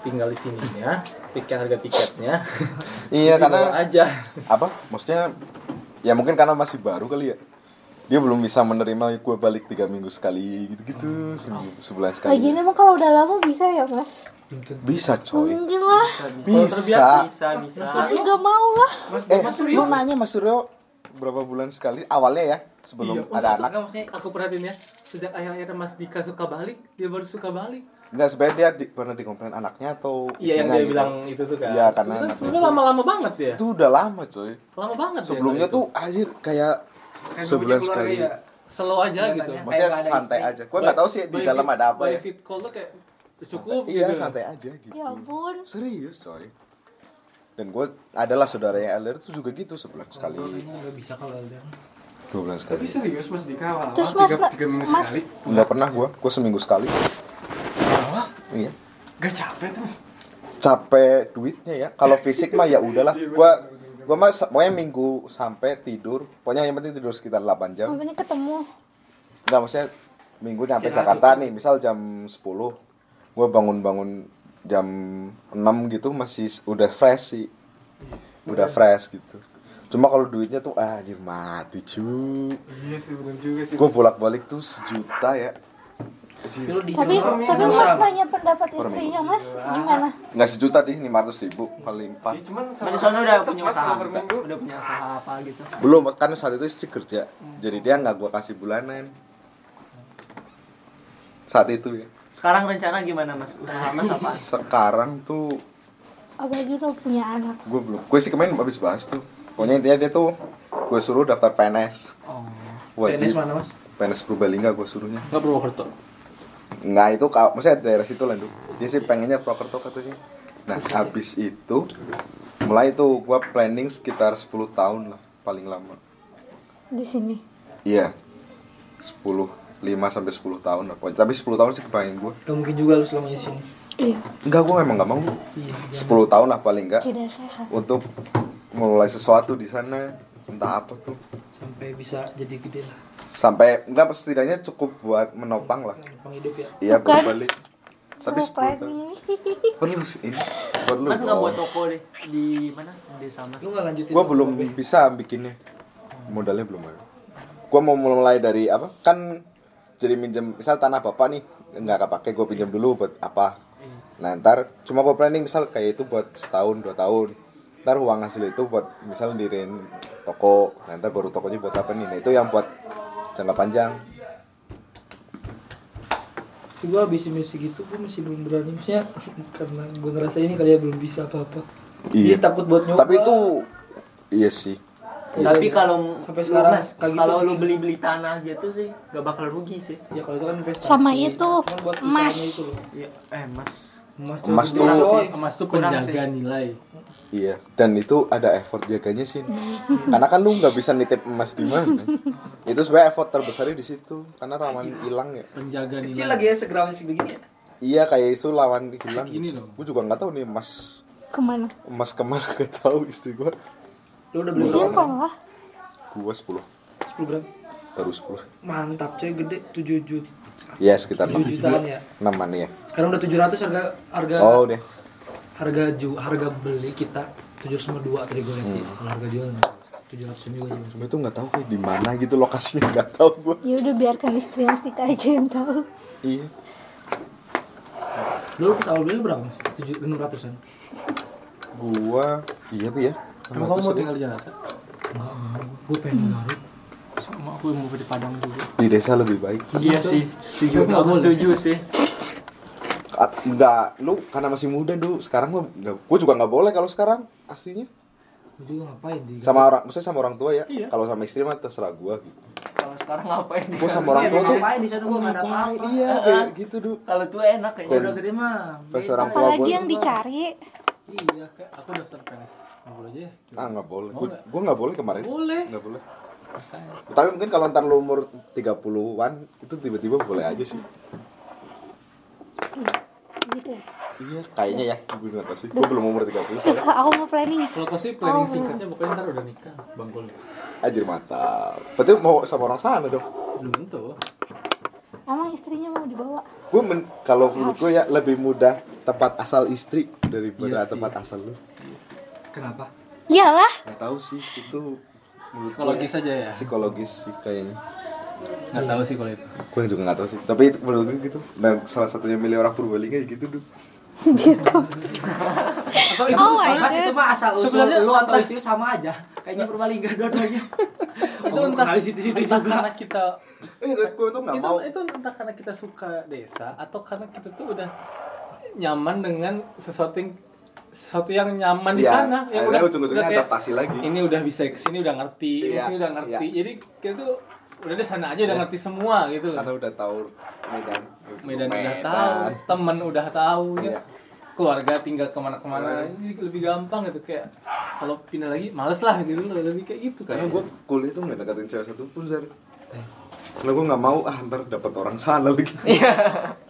S1: tinggal di sini ya tiket harga tiketnya
S3: iya
S1: Jadi bawa
S3: karena
S1: aja
S3: apa maksudnya ya mungkin karena masih baru kali ya dia belum bisa menerima gue balik tiga minggu sekali
S1: Hmm.
S3: gitu-gitu sebu- sebulan
S2: Lagian
S3: sekali
S2: emang kalau udah lama bisa ya mas?
S3: bisa
S1: Hmm,
S3: coy
S2: Mungkin lah,
S3: bisa
S8: Bisa, bisa.
S2: tapi gak mau lah
S3: Eh, lu nanya Mas Suryo berapa bulan sekali awalnya ya
S1: Iya,
S3: sebelum ada anak?
S1: Enggak, maksudnya aku perhatiin ya sejak akhirnya Mas Dika suka balik dia baru suka balik
S3: Enggak sebenarnya dia di, pernah dikomplain anaknya atau
S1: iya yang
S3: istrinya
S1: dia
S3: gitu.
S1: bilang itu tuh kan
S3: Iya, karena
S1: itu kan
S3: anak
S1: sebenarnya
S3: itu.
S1: lama-lama banget ya
S3: itu udah lama coy.
S1: lama banget ya
S3: Sebelumnya
S1: kalau itu.
S3: tuh anjir kayak
S6: Kayak
S3: sebulan
S6: gak punya
S3: sekali.
S6: keluarga ya.
S1: slow aja gitu
S6: Katanya.
S3: Maksudnya
S6: Kayak gak ada
S3: santai
S6: istri.
S3: aja. Gua nggak tahu sih di
S1: By
S3: dalam
S1: fit-
S3: ada apa
S1: by
S3: ya.
S1: fit call tuh kayak cukup
S3: Iya,
S1: gitu.
S3: santai aja gitu.
S2: Ya ampun
S3: Serius coy. Dan gue adalah saudaranya Elder tuh juga gitu sebulan sekali,
S1: Iya.
S6: Kayaknya nggak bisa kalau LDR
S3: dua bulan sekali.
S1: serius Mas Dika awal-awal
S2: Terus Mas,
S1: tiga, tiga minggu
S2: Mas-
S1: sekali
S3: Enggak pernah gue, gue seminggu sekali. Iya.
S1: gak capek tuh Mas
S3: capek duitnya ya kalau fisik mah ya udahlah
S1: Iya,
S3: gua gua mah sa- pokoknya minggu sampai tidur pokoknya yang penting tidur sekitar 8 jam
S2: Makanya ketemu
S3: nggak maksudnya minggu nyampe Jakarta nih misal jam 10 gua bangun-bangun jam 6 gitu masih s- udah fresh sih
S1: Iya,
S3: udah fresh gitu cuma kalau duitnya tuh ah anjir mati cu
S1: iya sih bener juga sih
S3: gua bolak-balik tuh sejuta ya Anjir.
S6: lu di
S2: Tapi
S6: sana
S2: tapi mas nanya pendapat istrinya mas gimana?
S3: nggak sejuta dih 500 ribu kali empat
S1: cuman
S8: Nah, di sana udah
S1: tetep
S8: punya
S1: Mas,
S8: usaha.
S1: kalau per minggu.
S8: Udah punya usaha apa gitu.
S3: belum kan saat itu istri kerja jadi dia nggak gua kasih bulanan saat itu ya
S8: Sekarang rencana gimana Mas? Usaha Mas apa?
S3: sekarang tuh
S2: Apalagi udah punya anak
S3: gue belum gue sih kemarin habis bahas tuh pokoknya intinya dia tuh gue suruh daftar PNS
S6: PNS
S3: wajib
S6: mana mas?
S3: PNS Purbalingga gue suruhnya
S1: nggak Purwokerto
S3: nggak itu ka- maksudnya daerah situ lah Du. dia sih pengennya Prokerto katanya nah habis itu mulai tuh gue planning sekitar 10 tahun lah paling lama
S2: di sini.
S3: iya 10 5 sampai 10 tahun lah pokoknya. tapi 10 tahun sih kebayang gue
S6: Gak mungkin juga lu selamanya sini
S2: Iya,
S3: Enggak, gue memang nggak mau.
S5: Iya,
S3: 10 tahun lah paling enggak
S2: tidak sehat.
S3: untuk mulai sesuatu di sana entah apa tuh.
S6: sampai bisa jadi gede lah
S3: sampai enggak setidaknya cukup buat menopang lah
S6: penghidup ya
S3: iya
S2: Bukan.
S3: berbalik tapi
S2: Mau
S3: sepuluh tahun
S2: planning.
S3: perlu sih ini perlu
S8: Mas nggak buat
S3: oh.
S8: toko deh di mana? Di sama.
S5: Lu nggak lanjutin?
S3: gue belum bisa bikinnya modalnya belum ada gue mau mulai dari apa kan jadi minjem misal tanah bapak nih nggak kepake gue pinjam dulu buat apa nah ntar cuma gue planning misal kayak itu buat setahun dua tahun ntar uang hasil itu buat misal dirin toko nah, ntar baru tokonya buat apa nih nah, itu yang buat jangka panjang
S5: Gue habis misi gitu, gue masih belum berani maksudnya karena gue ngerasa ini kali ya belum bisa apa-apa.
S3: Iya.
S5: Jadi takut buat nyoba.
S3: tapi itu iya sih
S8: Tapi kalau sampai
S5: Sampai
S8: sekarang
S5: sekarang,
S8: mas,
S5: kayak gitu.
S8: kalau lu beli-beli tanah gitu sih gak bakal rugi sih.
S5: ya kalau itu kan investasi.
S2: Sama itu,
S5: Cuman buat
S2: emas.
S5: usahanya itu loh.
S8: Iya, eh mas.
S5: Emas,
S3: Emas
S5: juga
S3: tuh-
S5: coy.
S1: emas itu
S8: Kurang
S1: Oh, penjaga
S8: sih.
S1: nilai
S3: iya dan itu ada effort jaganya sih karena kan lu nggak bisa nitip emas di mana itu sebenarnya effort terbesarnya di situ karena rawan hilang ya
S1: penjaga
S5: Kecil
S1: nilai
S5: lagi ya segram segini ya.
S3: iya kayak itu lawan hilang
S1: Gini loh.
S3: gue juga nggak tahu nih emas
S2: Kemana?
S3: emas kemana gak tahu istri gue
S2: Hmm.
S5: Lu udah beli berapa?
S2: Disimpan lah.
S3: gue 10
S5: 10 gram.
S3: baru 10
S5: Mantap coy, gede 7 juta.
S3: ya sekitar
S5: 7
S3: 6
S5: jutaan ya.
S3: 6 an ya
S5: Sekarang udah 700 harga harga
S3: oh deh
S5: harga ju, harga beli kita 702 tadi gue
S3: Hmm.
S5: lihat sih. Kalau harga jual 700 juga sih.
S3: cuma itu nggak tahu kayak di mana gitu lokasinya nggak tahu gue
S2: Ya udah biarkan istri Mas Tika aja yang tahu.
S3: iya
S5: Lu pas awal beli lu berapa mas? 7 600 an?
S3: gua iya bi ya
S1: emang kamu mau tinggal di Jakarta
S5: Gue
S6: Hmm.
S5: pengen ngaruh.
S8: Sama aku mau di Padang juga.
S3: di desa lebih baik
S8: Iya sih, setuju. Aku setuju sih.
S3: Ah, nggak lu karena masih muda dulu sekarang lu nggak gue juga nggak boleh kalau sekarang aslinya
S5: Gue juga ngapain di
S3: sama orang maksudnya sama orang tua ya kalau sama istri mah terserah gua gitu
S8: Kalau sekarang ngapain?
S3: gue
S6: Iya,
S3: sama orang tua tuh
S5: Iya, Ngapain di sana gue nggak ada apa-apa.
S3: ngapain iya kayak gitu dulu
S8: Kalau tua enak kayaknya
S3: Dan-
S8: udah gede mah.
S3: pas orang tua
S2: Apalagi
S3: gue
S2: yang dicari.
S1: iya kayak aku daftar PNS ngobrol aja ya.
S3: ah nggak boleh gue gue nggak boleh kemarin
S1: boleh
S3: nggak boleh tapi mungkin kalau ntar lu umur 30-an itu tiba-tiba boleh aja sih
S2: Gitu ya.
S3: iya kayaknya ya gue nggak tahu sih gue belum umur 30 soalnya
S2: Aku mau planning.
S1: kalau aku sih planning singkatnya pokoknya ntar udah nikah bangkul
S3: anjir mata berarti mau sama orang sana dong
S1: belum tentu
S2: Emang istrinya mau dibawa?
S3: gue men kalau menurut gue ya lebih mudah tempat asal istri
S1: Iya
S3: daripada
S1: sih.
S3: tempat asal lu
S5: Kenapa?
S2: Iyalah.
S3: nggak tahu sih itu menurut gue
S1: psikologis aja ya
S3: psikologis sih kayaknya
S1: nggak tahu sih kalau itu
S3: gue juga nggak tahu sih tapi itu menurut gue gitu dan salah satunya milih orang Purbalingga ya gitu dulu
S6: atau
S3: kan
S6: itu
S2: Oh my
S6: mas
S2: God.
S6: itu mah
S3: iya.
S6: asal usul
S1: Sebenarnya
S6: lu atau
S1: entah-
S6: istri sama aja kayaknya Purbalingga dua-duanya
S1: itu
S6: Ngomong
S1: entah
S6: kenal di situ-situ
S1: entah
S6: juga.
S1: karena kita
S3: eh gue tuh nggak
S1: itu
S3: mau
S1: itu entah karena kita suka desa atau karena kita tuh udah nyaman dengan sesuatu yang sesuatu yang nyaman di
S3: ya
S1: sana yang
S3: akhirnya
S1: udah
S3: ujung-ujungnya
S1: kayak,
S3: adaptasi lagi
S1: ini udah bisa ke sini udah ngerti ini
S3: Iya,
S1: sini udah ngerti
S3: iya.
S1: jadi kita tuh udah di sana aja udah
S3: Iya.
S1: ngerti semua gitu loh
S3: karena udah tahu Medan
S1: Medan udah tahu temen udah tahu gitu.
S3: Iya.
S1: keluarga tinggal kemana-kemana jadi lebih gampang gitu kayak kalau pindah lagi males lah gitu loh lebih kayak gitu kayak
S3: karena gue kuliah tuh nggak deketin cewek satupun Zar karena gue nggak mau ah ntar dapet orang sana lagi
S1: Iya.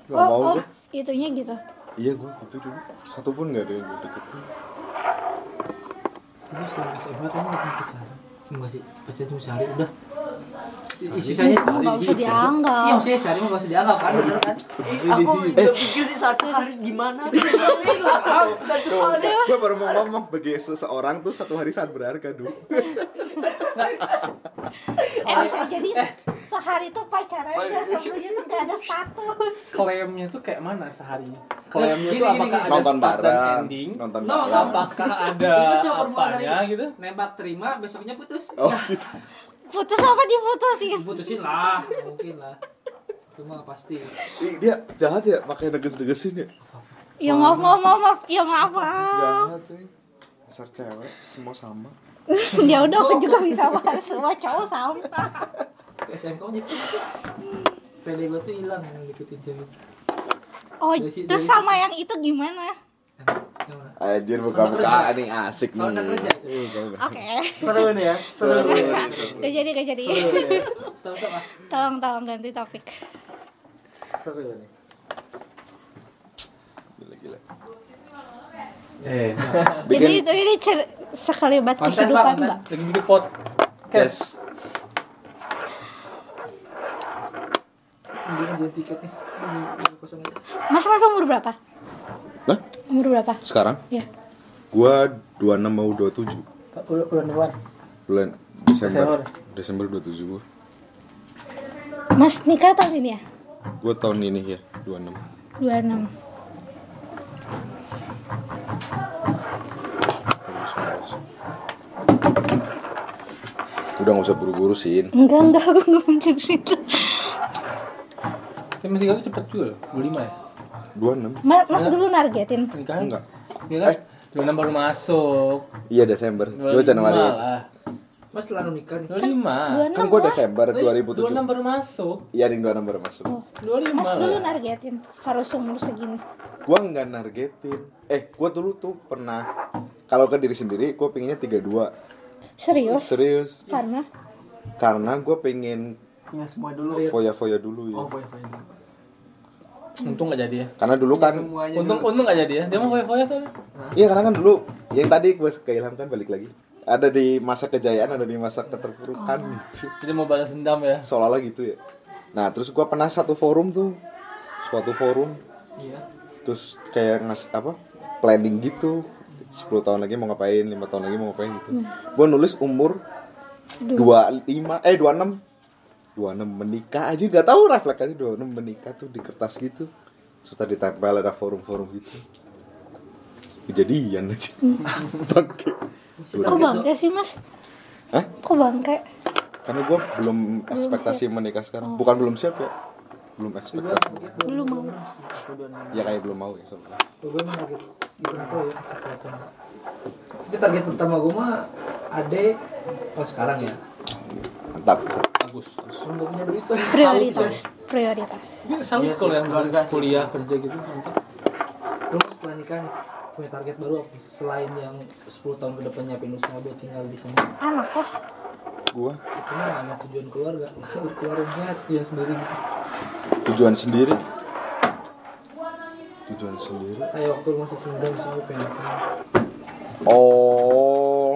S3: nggak mau
S2: Oh, oh,
S3: gue
S2: itunya gitu.
S3: iya gue gitu dulu satupun nggak ada yang gue deketin
S5: Gue selama SMA kayaknya gak pernah pacaran. Enggak sih, pacaran cuma sehari udah.
S6: sisanya
S2: Enggak usah dianggap.
S6: iya maksudnya sehari mah gak usah dianggap kan bener kan
S8: Aku udah pikir sih satu hari gimana?
S3: gue baru mau ngomong bagi seseorang tuh satu hari sangat berharga dulu
S2: Eh, bisa jadi sehari tuh pacaran ya sebelumnya tuh gak ada status.
S1: klaimnya tuh kayak mana sehari klaimnya
S6: Gini,
S1: tuh
S6: gini,
S1: apakah
S6: gini.
S1: ada
S3: nonton
S1: start dan
S3: bareng
S1: ending
S3: nonton
S6: No,
S3: bareng
S1: apakah Nah, ada
S6: Itu cuma permulaan
S1: apanya
S6: dari-
S1: gitu
S6: nembak terima besoknya putus
S3: oh gitu
S2: Putus apa diputusin?
S6: putusin lah mungkin lah itu mah pasti
S3: Ih, dia jahat ya pakai neges-negesin ya
S2: Ya maaf, maaf, maaf, maaf. Ya maaf, maaf.
S3: jahat ya besar cewek semua sama
S2: Ya udah aku juga bisa bahas semua cowok sampah.
S6: ke SMK mah justru pede gue tuh hilang yang deketin cewek
S2: Oh,
S6: Dari si-
S2: terus
S6: dari
S2: sama yang itu gimana?
S6: Yang mana?
S3: Anjir buka-bukaan nih asik nih.
S6: Nonton kerja.
S3: Iya, buka-bukaan.
S2: Oke.
S6: seru nih ya
S3: Seru nih, seru.
S2: Udah jadi, udah jadi.
S6: seru nih ya stop stop ah
S2: Tolong, tolong ganti topik.
S6: seru nih
S3: Gila-gila.
S1: eh
S2: Jadi
S3: Bikin
S2: itu ini cer- sekali banget
S6: konten pak
S2: kehidupan,
S6: konten
S2: Mbak.
S1: lagi bikin pot
S3: podcast
S6: Belum jadi tiket nih. Ini kosong aja.
S2: Mas Mas umur berapa?
S3: Lah,
S2: Umur berapa?
S3: sekarang
S2: Ya.
S3: gua 26 mau 27
S6: Bulan bulan depan.
S3: bulan Desember. Desember 27 gua.
S2: Mas nikah tahun ini ya?
S3: Gua tahun ini ya 26.
S2: 26.
S3: Udah nggak usah buru-buru sin.
S2: Enggak, enggak, aku nggak mungkin situ.
S1: Tapi masih itu cepet juga loh, 25 ya?
S3: 26.
S2: Mas, mas dulu nargetin.
S1: Nikahan?
S3: Enggak.
S1: Iya kan? 26 baru masuk.
S3: Iya Desember. Coba
S1: 25
S3: Januari aja.
S1: lah.
S6: Mas lalu nikah nih.
S2: 26
S1: 25.
S3: Kan gua
S2: lah.
S3: Desember
S1: 26
S3: 2007.
S1: baru masuk.
S3: Iya, ding 26 baru masuk.
S1: 25
S2: Mas dulu
S1: lah.
S2: nargetin harus umur segini.
S3: Gua nggak nargetin. Eh, gua dulu tuh pernah kalau ke diri sendiri gua pengennya 32.
S2: Serius?
S3: Serius.
S2: Karena
S3: Karena gua pengen
S5: punya semua dulu
S1: Iya.
S3: foya-foya dulu ya.
S5: oh boy boy dulu.
S1: Untung gak jadi ya.
S3: Karena dulu kan
S5: semuanya
S1: Untung
S5: dulu.
S1: untung gak jadi ya. Dia mau foya-foya soalnya.
S3: Iya karena kan dulu yang tadi gue kehilangan kan balik lagi. Ada di masa kejayaan, ada di masa keterpurukan gitu.
S1: Jadi mau balas dendam ya.
S3: Seolah-olah gitu ya. Nah terus gue pernah satu forum tuh, suatu forum. Terus kayak ngas apa? Planning gitu. 10 tahun lagi mau ngapain, lima tahun lagi mau ngapain gitu. Gue nulis umur 25 eh 26 26 menikah aja nggak tahu refleks aja 26 menikah tuh di kertas gitu. Terus tadi ditempel ada forum-forum gitu. Kejadian aja. Bangke.
S2: kok bangke sih mas?
S3: Hah?
S2: Kok bangke?
S3: Karena gue belum ekspektasi menikah sekarang. Bukan belum siap ya. Belum ekspektasi.
S2: Belum mau.
S3: Ya kayak belum mau ya sebenarnya.
S6: Gue emang target gitu nggak tahu ya kecepatan. Tapi target pertama gue mah ade oh sekarang ya.
S3: Mantap.
S6: Belum gak punya duit soalnya.
S2: Prioritas. Prioritas.
S1: Ini
S6: Iya
S1: salut Kan kalau yang misalnya kuliah kerja gitu. mantap.
S6: Lu setelah nikah nih punya target baru apa? Selain yang 10 tahun ke depan nyiapin usaha buat tinggal di sana.
S2: Anak lah.
S3: Gue
S6: Itu mah nggak ada tujuan keluarga. Keluarga tujuan sendiri gitu.
S3: tujuan sendiri. Tujuan sendiri.
S6: Kayak waktu lu masih single misalnya lu pengen apa?
S3: Oh.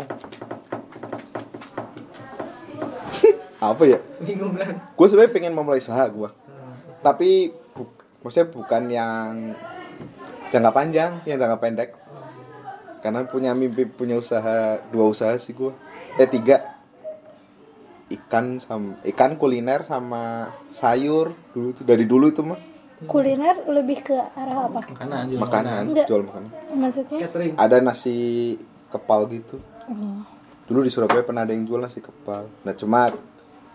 S3: Apa ya?
S6: Bingung kan?
S3: Gue sebenarnya pengen memulai usaha gue. Tapi bu- maksudnya bukan yang jangka panjang, yang jangka pendek. Karena punya mimpi punya usaha dua usaha sih gue. Eh tiga ikan sama ikan kuliner sama sayur dulu tuh dari dulu itu mah
S2: Kuliner lebih ke arah apa?
S1: Makanan aja.
S3: makanan
S2: Enggak.
S3: jual makanan
S2: Maksudnya?
S6: Catering.
S3: ada nasi kepal gitu
S2: Oh.
S3: dulu di Surabaya pernah ada yang jual nasi kepal nah cuma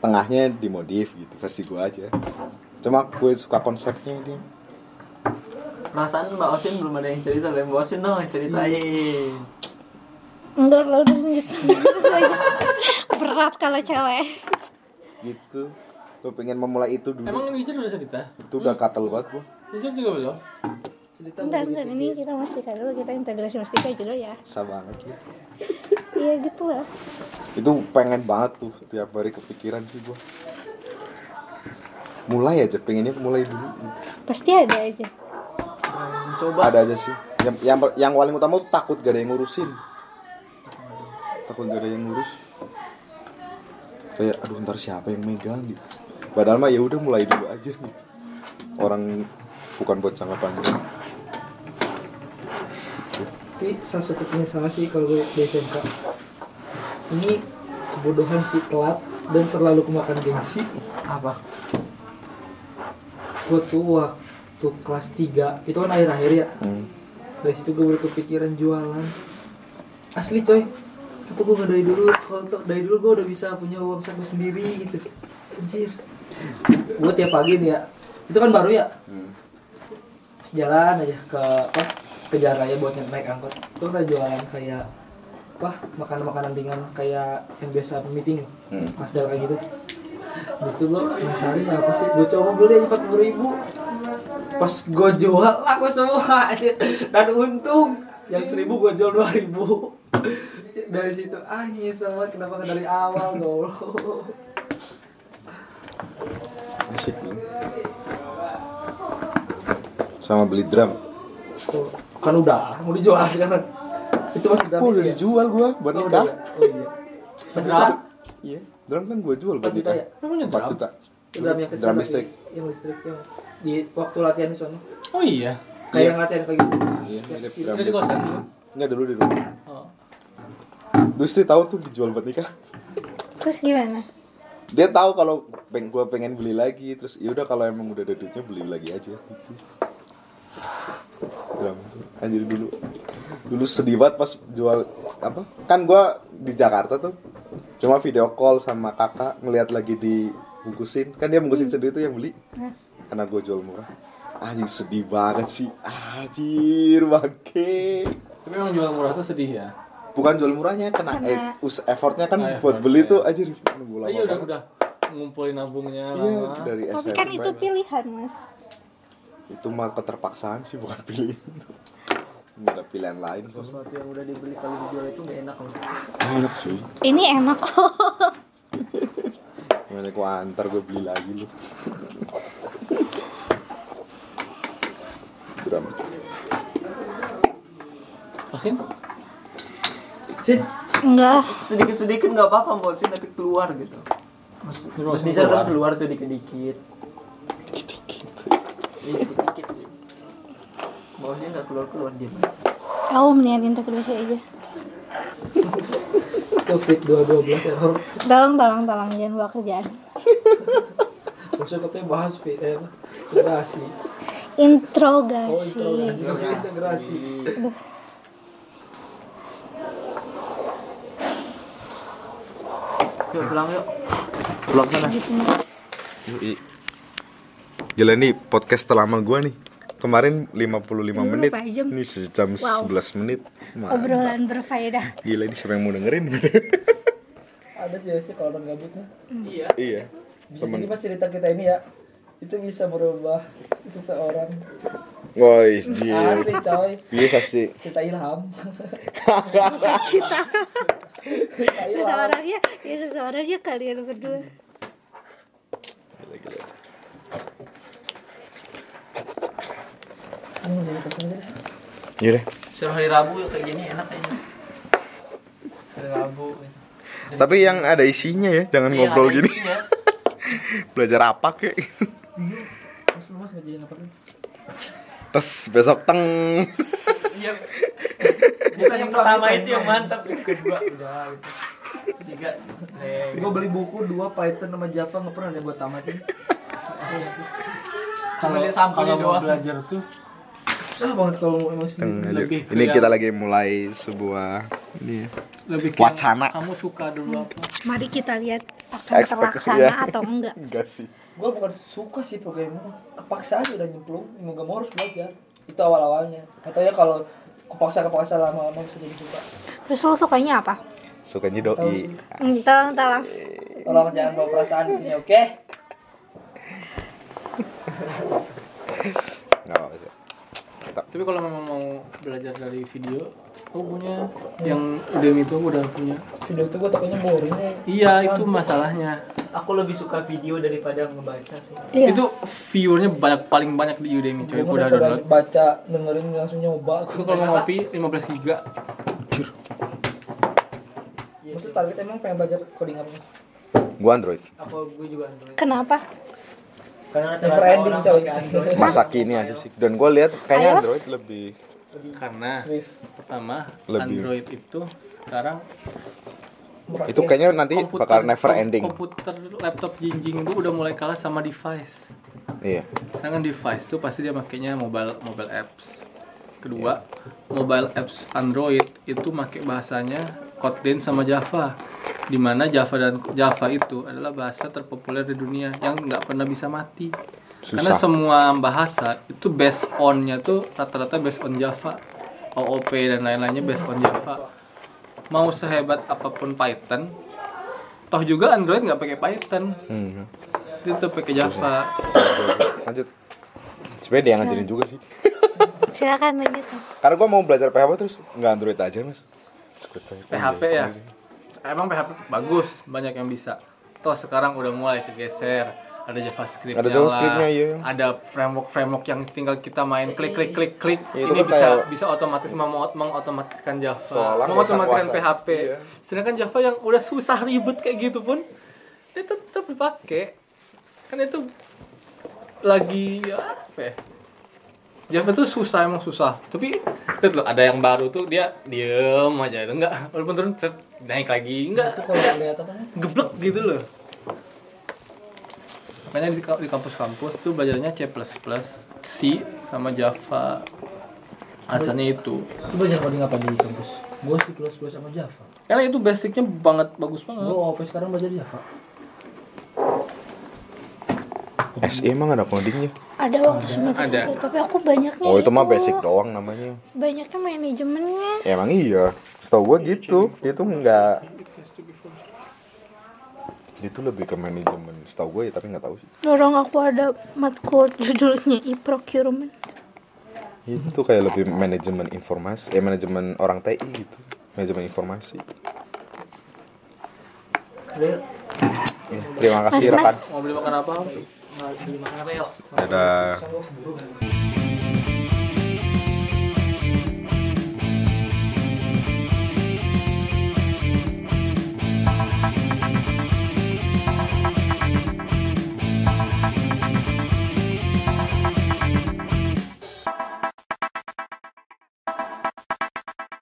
S3: tengahnya dimodif gitu versi gua aja cuma gue suka konsepnya dia
S5: perasaan Mbak Osin belum ada yang cerita lah Mbak Osin dong yang ceritain
S2: Enggak lah udah lanjut. Berat kalau cewek.
S3: gitu gue pengen memulai itu dulu
S1: Emang Nijir udah cerita?
S3: itu udah katel banget gua
S1: Nijir juga belum?
S2: Bentar, bentar. Ini kita mastika dulu. Kita integrasi mastika dulu ya.
S3: Susah banget ya.
S2: Iya gitu lah.
S3: itu pengen banget tuh tiap hari kepikiran sih gua mulai aja pengennya mulai dulu
S2: Pasti ada aja.
S5: coba
S3: ada aja sih yang yang, yang paling utama tuh takut gak ada yang ngurusin takut gak ada yang ngurus kayak aduh ntar siapa yang megang gitu padahal mah ya udah mulai dulu aja gitu orang bukan buat jangka panjang
S6: Tapi salah satu penyesalan sih kalau gue di SMK Ini kebodohan sih telat dan terlalu kemakan gengsi Apa? Gue tuh waktu kelas 3 Itu kan akhir-akhir ya
S3: hmm.
S6: Dari situ gue baru kepikiran jualan Asli coy Apa gue nggak dari dulu Kalau tuh dari dulu gue udah bisa punya uang saku sendiri gitu Anjir Gue tiap pagi nih ya Itu kan baru ya
S3: Hmm.
S6: Terus jalan aja ke apa ke jalan raya buat naik angkot terus kita jualan kayak apa makanan makanan ringan kayak yang biasa meeting
S3: Hmm.
S6: mas Del kayak gitu terus tuh gue penasaran ya apa sih gue coba beli aja empat ribu pas gue jual laku semua anjir. dan untung yang seribu gue jual dua ribu dari situ ah nyesel banget kenapa nggak dari awal goblok
S3: asik nih. sama beli drum
S6: Tuh, kan udah mau dijual sekarang itu masih
S3: oh udah
S6: ya?
S3: dijual gua buat
S6: Oh,
S3: nikah
S6: udah ya? Oh, iya. Berapa?
S3: iya drum kan gua jual buat
S6: Empat juta ya?
S3: nikah 4 juta
S5: drum yang kecil
S3: Drum
S5: tapi
S3: listrik.
S5: yang listrik yang di waktu latihan di sana
S1: Oh iya.
S5: kayak
S3: Iya.
S5: yang latihan kayak gitu
S3: Iya, mirip
S1: Itu
S3: drum
S1: di
S3: beat.
S1: kosan dulu.
S3: Enggak dulu di rumah.
S1: Oh.
S3: Dustri tahu tuh dijual buat nikah.
S2: Terus gimana?
S3: Dia tahu kalau peng gue pengen beli lagi, terus ya udah kalau emang udah ada duitnya beli lagi aja gitu. Drum itu. Anjir dulu. Dulu sedih banget pas jual apa? Kan gua di Jakarta tuh cuma video call sama kakak ngelihat lagi dibungkusin. Kan dia bungkusin sendiri tuh yang beli. Karena gue jual murah. Anjing sedih banget sih. Anjir, bangke.
S1: Tapi memang jual murah tuh sedih ya.
S3: bukan jual murahnya kena
S2: Kena.
S3: eh, us effortnya kan
S1: Ah, effort,
S3: buat beli
S1: iya.
S3: tuh aja nunggu lama
S1: Iya udah
S3: banget.
S1: udah ngumpulin nabungnya
S3: Iya,
S1: lama.
S3: dari
S2: Tapi
S3: SMP
S2: kan itu
S3: itu,
S2: pilihan, Mas.
S3: mah keterpaksaan sih bukan pilihan nggak ada pilihan lain kok
S5: sesuatu yang udah dibeli kalau dijual itu nggak enak loh
S3: Ah, enak cuy
S2: Ini enak kok.
S3: mana gua antar gue beli lagi lu drum
S1: Kosin?
S8: Sit,
S2: Enggak.
S8: sedikit-sedikit nggak apa-apa mau sit tapi keluar gitu. Mas,
S1: Di ruang
S8: bisa
S1: keluar.
S8: kan keluar tuh dikit-dikit. Iya, Dikit-dikit sih. Mau sih nggak keluar-keluar dia.
S2: Aku mendingan integrasi aja.
S5: covid dua dua belas ya, error
S2: Tolong, tolong, tolong. Jangan bawa kerjaan.
S5: maksudnya katanya bahas fit eh apa? integrasi oh
S2: Introgasi.
S5: integrasi
S1: Iya.
S5: Oke, integrasi
S8: Yuk pulang yuk.
S3: pulang sana
S2: gitu, Mas.
S3: gila nih podcast terlama gua nih kemarin 55 menit
S2: berapa jam?
S3: ini sejam
S2: Wow.
S3: 11 menit Mantap.
S2: Obrolan berfaedah.
S3: gila ini siapa yang mau dengerin gitu
S5: ada sih ya sih kalau orang gabutnya
S3: iya
S5: bisa
S3: Temen.
S5: jadi pas cerita kita ini ya itu bisa merubah seseorang
S3: Woi, Iya, dia
S5: asli coy
S3: biasa sih.
S5: kita ilham
S2: Seseorangnya, ya seseorangnya kalian berdua.
S3: Iya deh.
S8: Setiap hari Rabu yuk, kayak gini enak kayaknya. Hari Rabu. gitu.
S3: Tapi yang ada isinya ya, jangan
S8: Iya,
S3: ngobrol
S8: ada
S3: gini.
S8: isinya.
S3: Belajar apa kek?
S8: Mas Iya, lu mas ngerjain apa tuh?
S3: Terus besok teng.
S8: Iya. Bukan yang pertama itu yang mantap, yang kedua udah gitu. Tiga.
S5: gue beli buku dua Python sama Java nggak pernah ada buat tamatin
S1: Kalau
S8: lihat sampulnya
S1: kalau mau
S8: doang.
S1: belajar tuh
S5: susah banget kalau mau emosi
S3: Teng, aja.
S1: Lebih
S3: Ini
S1: ke
S3: kita lagi mulai sebuah ini ya.
S1: lebih ke
S3: Wacana.
S1: kamu suka dulu apa?
S2: Mari kita lihat akan
S3: Expect,
S2: terlaksana
S3: ya.
S2: atau enggak.
S3: Enggak sih.
S5: gue bukan suka sih programming kepaksa aja udah nyemplung mau gak mau harus belajar itu awal awalnya katanya kalau kepaksa kepaksa lama lama bisa jadi suka
S2: Terus lo sukanya apa?
S3: Sukanya doi.
S2: Hmm, Tolong, tolong.
S5: tolong jangan bawa perasaan di sini oke
S3: Enggak apa-apa. sih.
S1: Tapi kalau memang mau belajar dari video, aku punya yang Udemy itu aku udah punya.
S5: Iya. video itu gue takutnya boring ya
S1: Iya, itu masalahnya.
S8: Aku lebih suka video daripada ngebaca sih.
S2: Iya.
S1: Itu viewernya banyak paling banyak di Udemy, coy. Aku udah download.
S5: baca dengerin langsung nyoba
S1: Itu
S5: aku
S1: kalau mau ngopi 15 giga.
S5: itu target emang pengen belajar coding apa mas
S3: Gua Android.
S8: Apa gue juga Android.
S2: Kenapa?
S8: Karena
S5: never
S8: rata-rata
S5: ending
S8: orang
S5: coy
S8: pakai Android.
S3: Masa kini aja sih. Dan gua lihat kayaknya
S2: iOS?
S3: Android lebih
S1: Karena
S5: Swift
S1: pertama
S3: Lebih.
S1: Android itu sekarang
S5: Murah.
S3: itu kayaknya nanti bakal never
S1: kom-
S3: ending.
S1: Komputer laptop jinjing itu udah mulai kalah sama device.
S3: Iya.
S1: Sekarang device tuh pasti dia makainya mobile mobile apps. Kedua,
S3: Iya.
S1: mobile apps Android itu make bahasanya Kotlin sama Java. Di mana Java dan Java itu adalah bahasa terpopuler di dunia yang nggak pernah bisa mati. Karena
S3: Susah.
S1: semua bahasa itu based on-nya tuh rata-rata based on Java. OOP dan lain-lainnya based on Java. Mau sehebat apapun Python, toh juga Android nggak pakai Python,
S3: Hmm.
S1: itu tetap pakai Java.
S3: Lanjut. Sebenarnya dia yang ngajarin juga sih.
S2: Silakan lanjut. Mas.
S3: Karena gua mau belajar PHP terus nggak Android aja, Mas. Iya,
S1: PHP ya emang PHP bagus banyak yang bisa toh sekarang udah mulai kegeser ada JavaScript
S3: Ada JavaScript-nya, iya.
S1: ada framework framework yang tinggal kita main klik klik klik klik
S3: Iya, itu
S1: ini
S3: kan
S1: bisa
S3: kayak-
S1: bisa otomatis memo- mengotomatiskan Java
S3: Seolah
S1: mengotomatiskan
S3: kuasa-kuasa.
S1: PHP
S3: Iya.
S1: sedangkan Java yang udah susah ribet kayak gitu pun dia tetap dipakai kan itu lagi ya, apa ya Java tuh susah emang susah tapi lihat loh ada yang baru tuh dia diem aja itu enggak walaupun turun set, naik lagi enggak
S5: Itu kalau lihat apa namanya?
S1: geblek gitu loh makanya di, ka- di kampus-kampus tuh belajarnya C++ C sama Java asalnya itu
S5: Lu belajar coding apa di kampus? Gue sih plus plus sama Java.
S1: karena itu basicnya banget bagus
S5: Gue
S1: banget
S5: OP sekarang belajar Java.
S3: SE E emang ada codingnya
S2: Ada waktu semester
S1: Ada.
S2: satu, tapi aku banyaknya
S3: oh itu mah basic doang namanya
S2: Banyaknya manajemennya.
S3: emang iya setahu gua gitu dia tuh nggak dia tuh lebih ke manajemen setahu gue ya tapi nggak tahu sih
S2: Dorong aku ada matkul judulnya e-procurement.
S3: itu kayak lebih manajemen informasi eh manajemen orang TI gitu manajemen informasi Ya, terima kasih
S2: Mas, mas.
S3: rekan
S1: mau beli makan apa
S3: dadah
S5: Sanggup buru kan?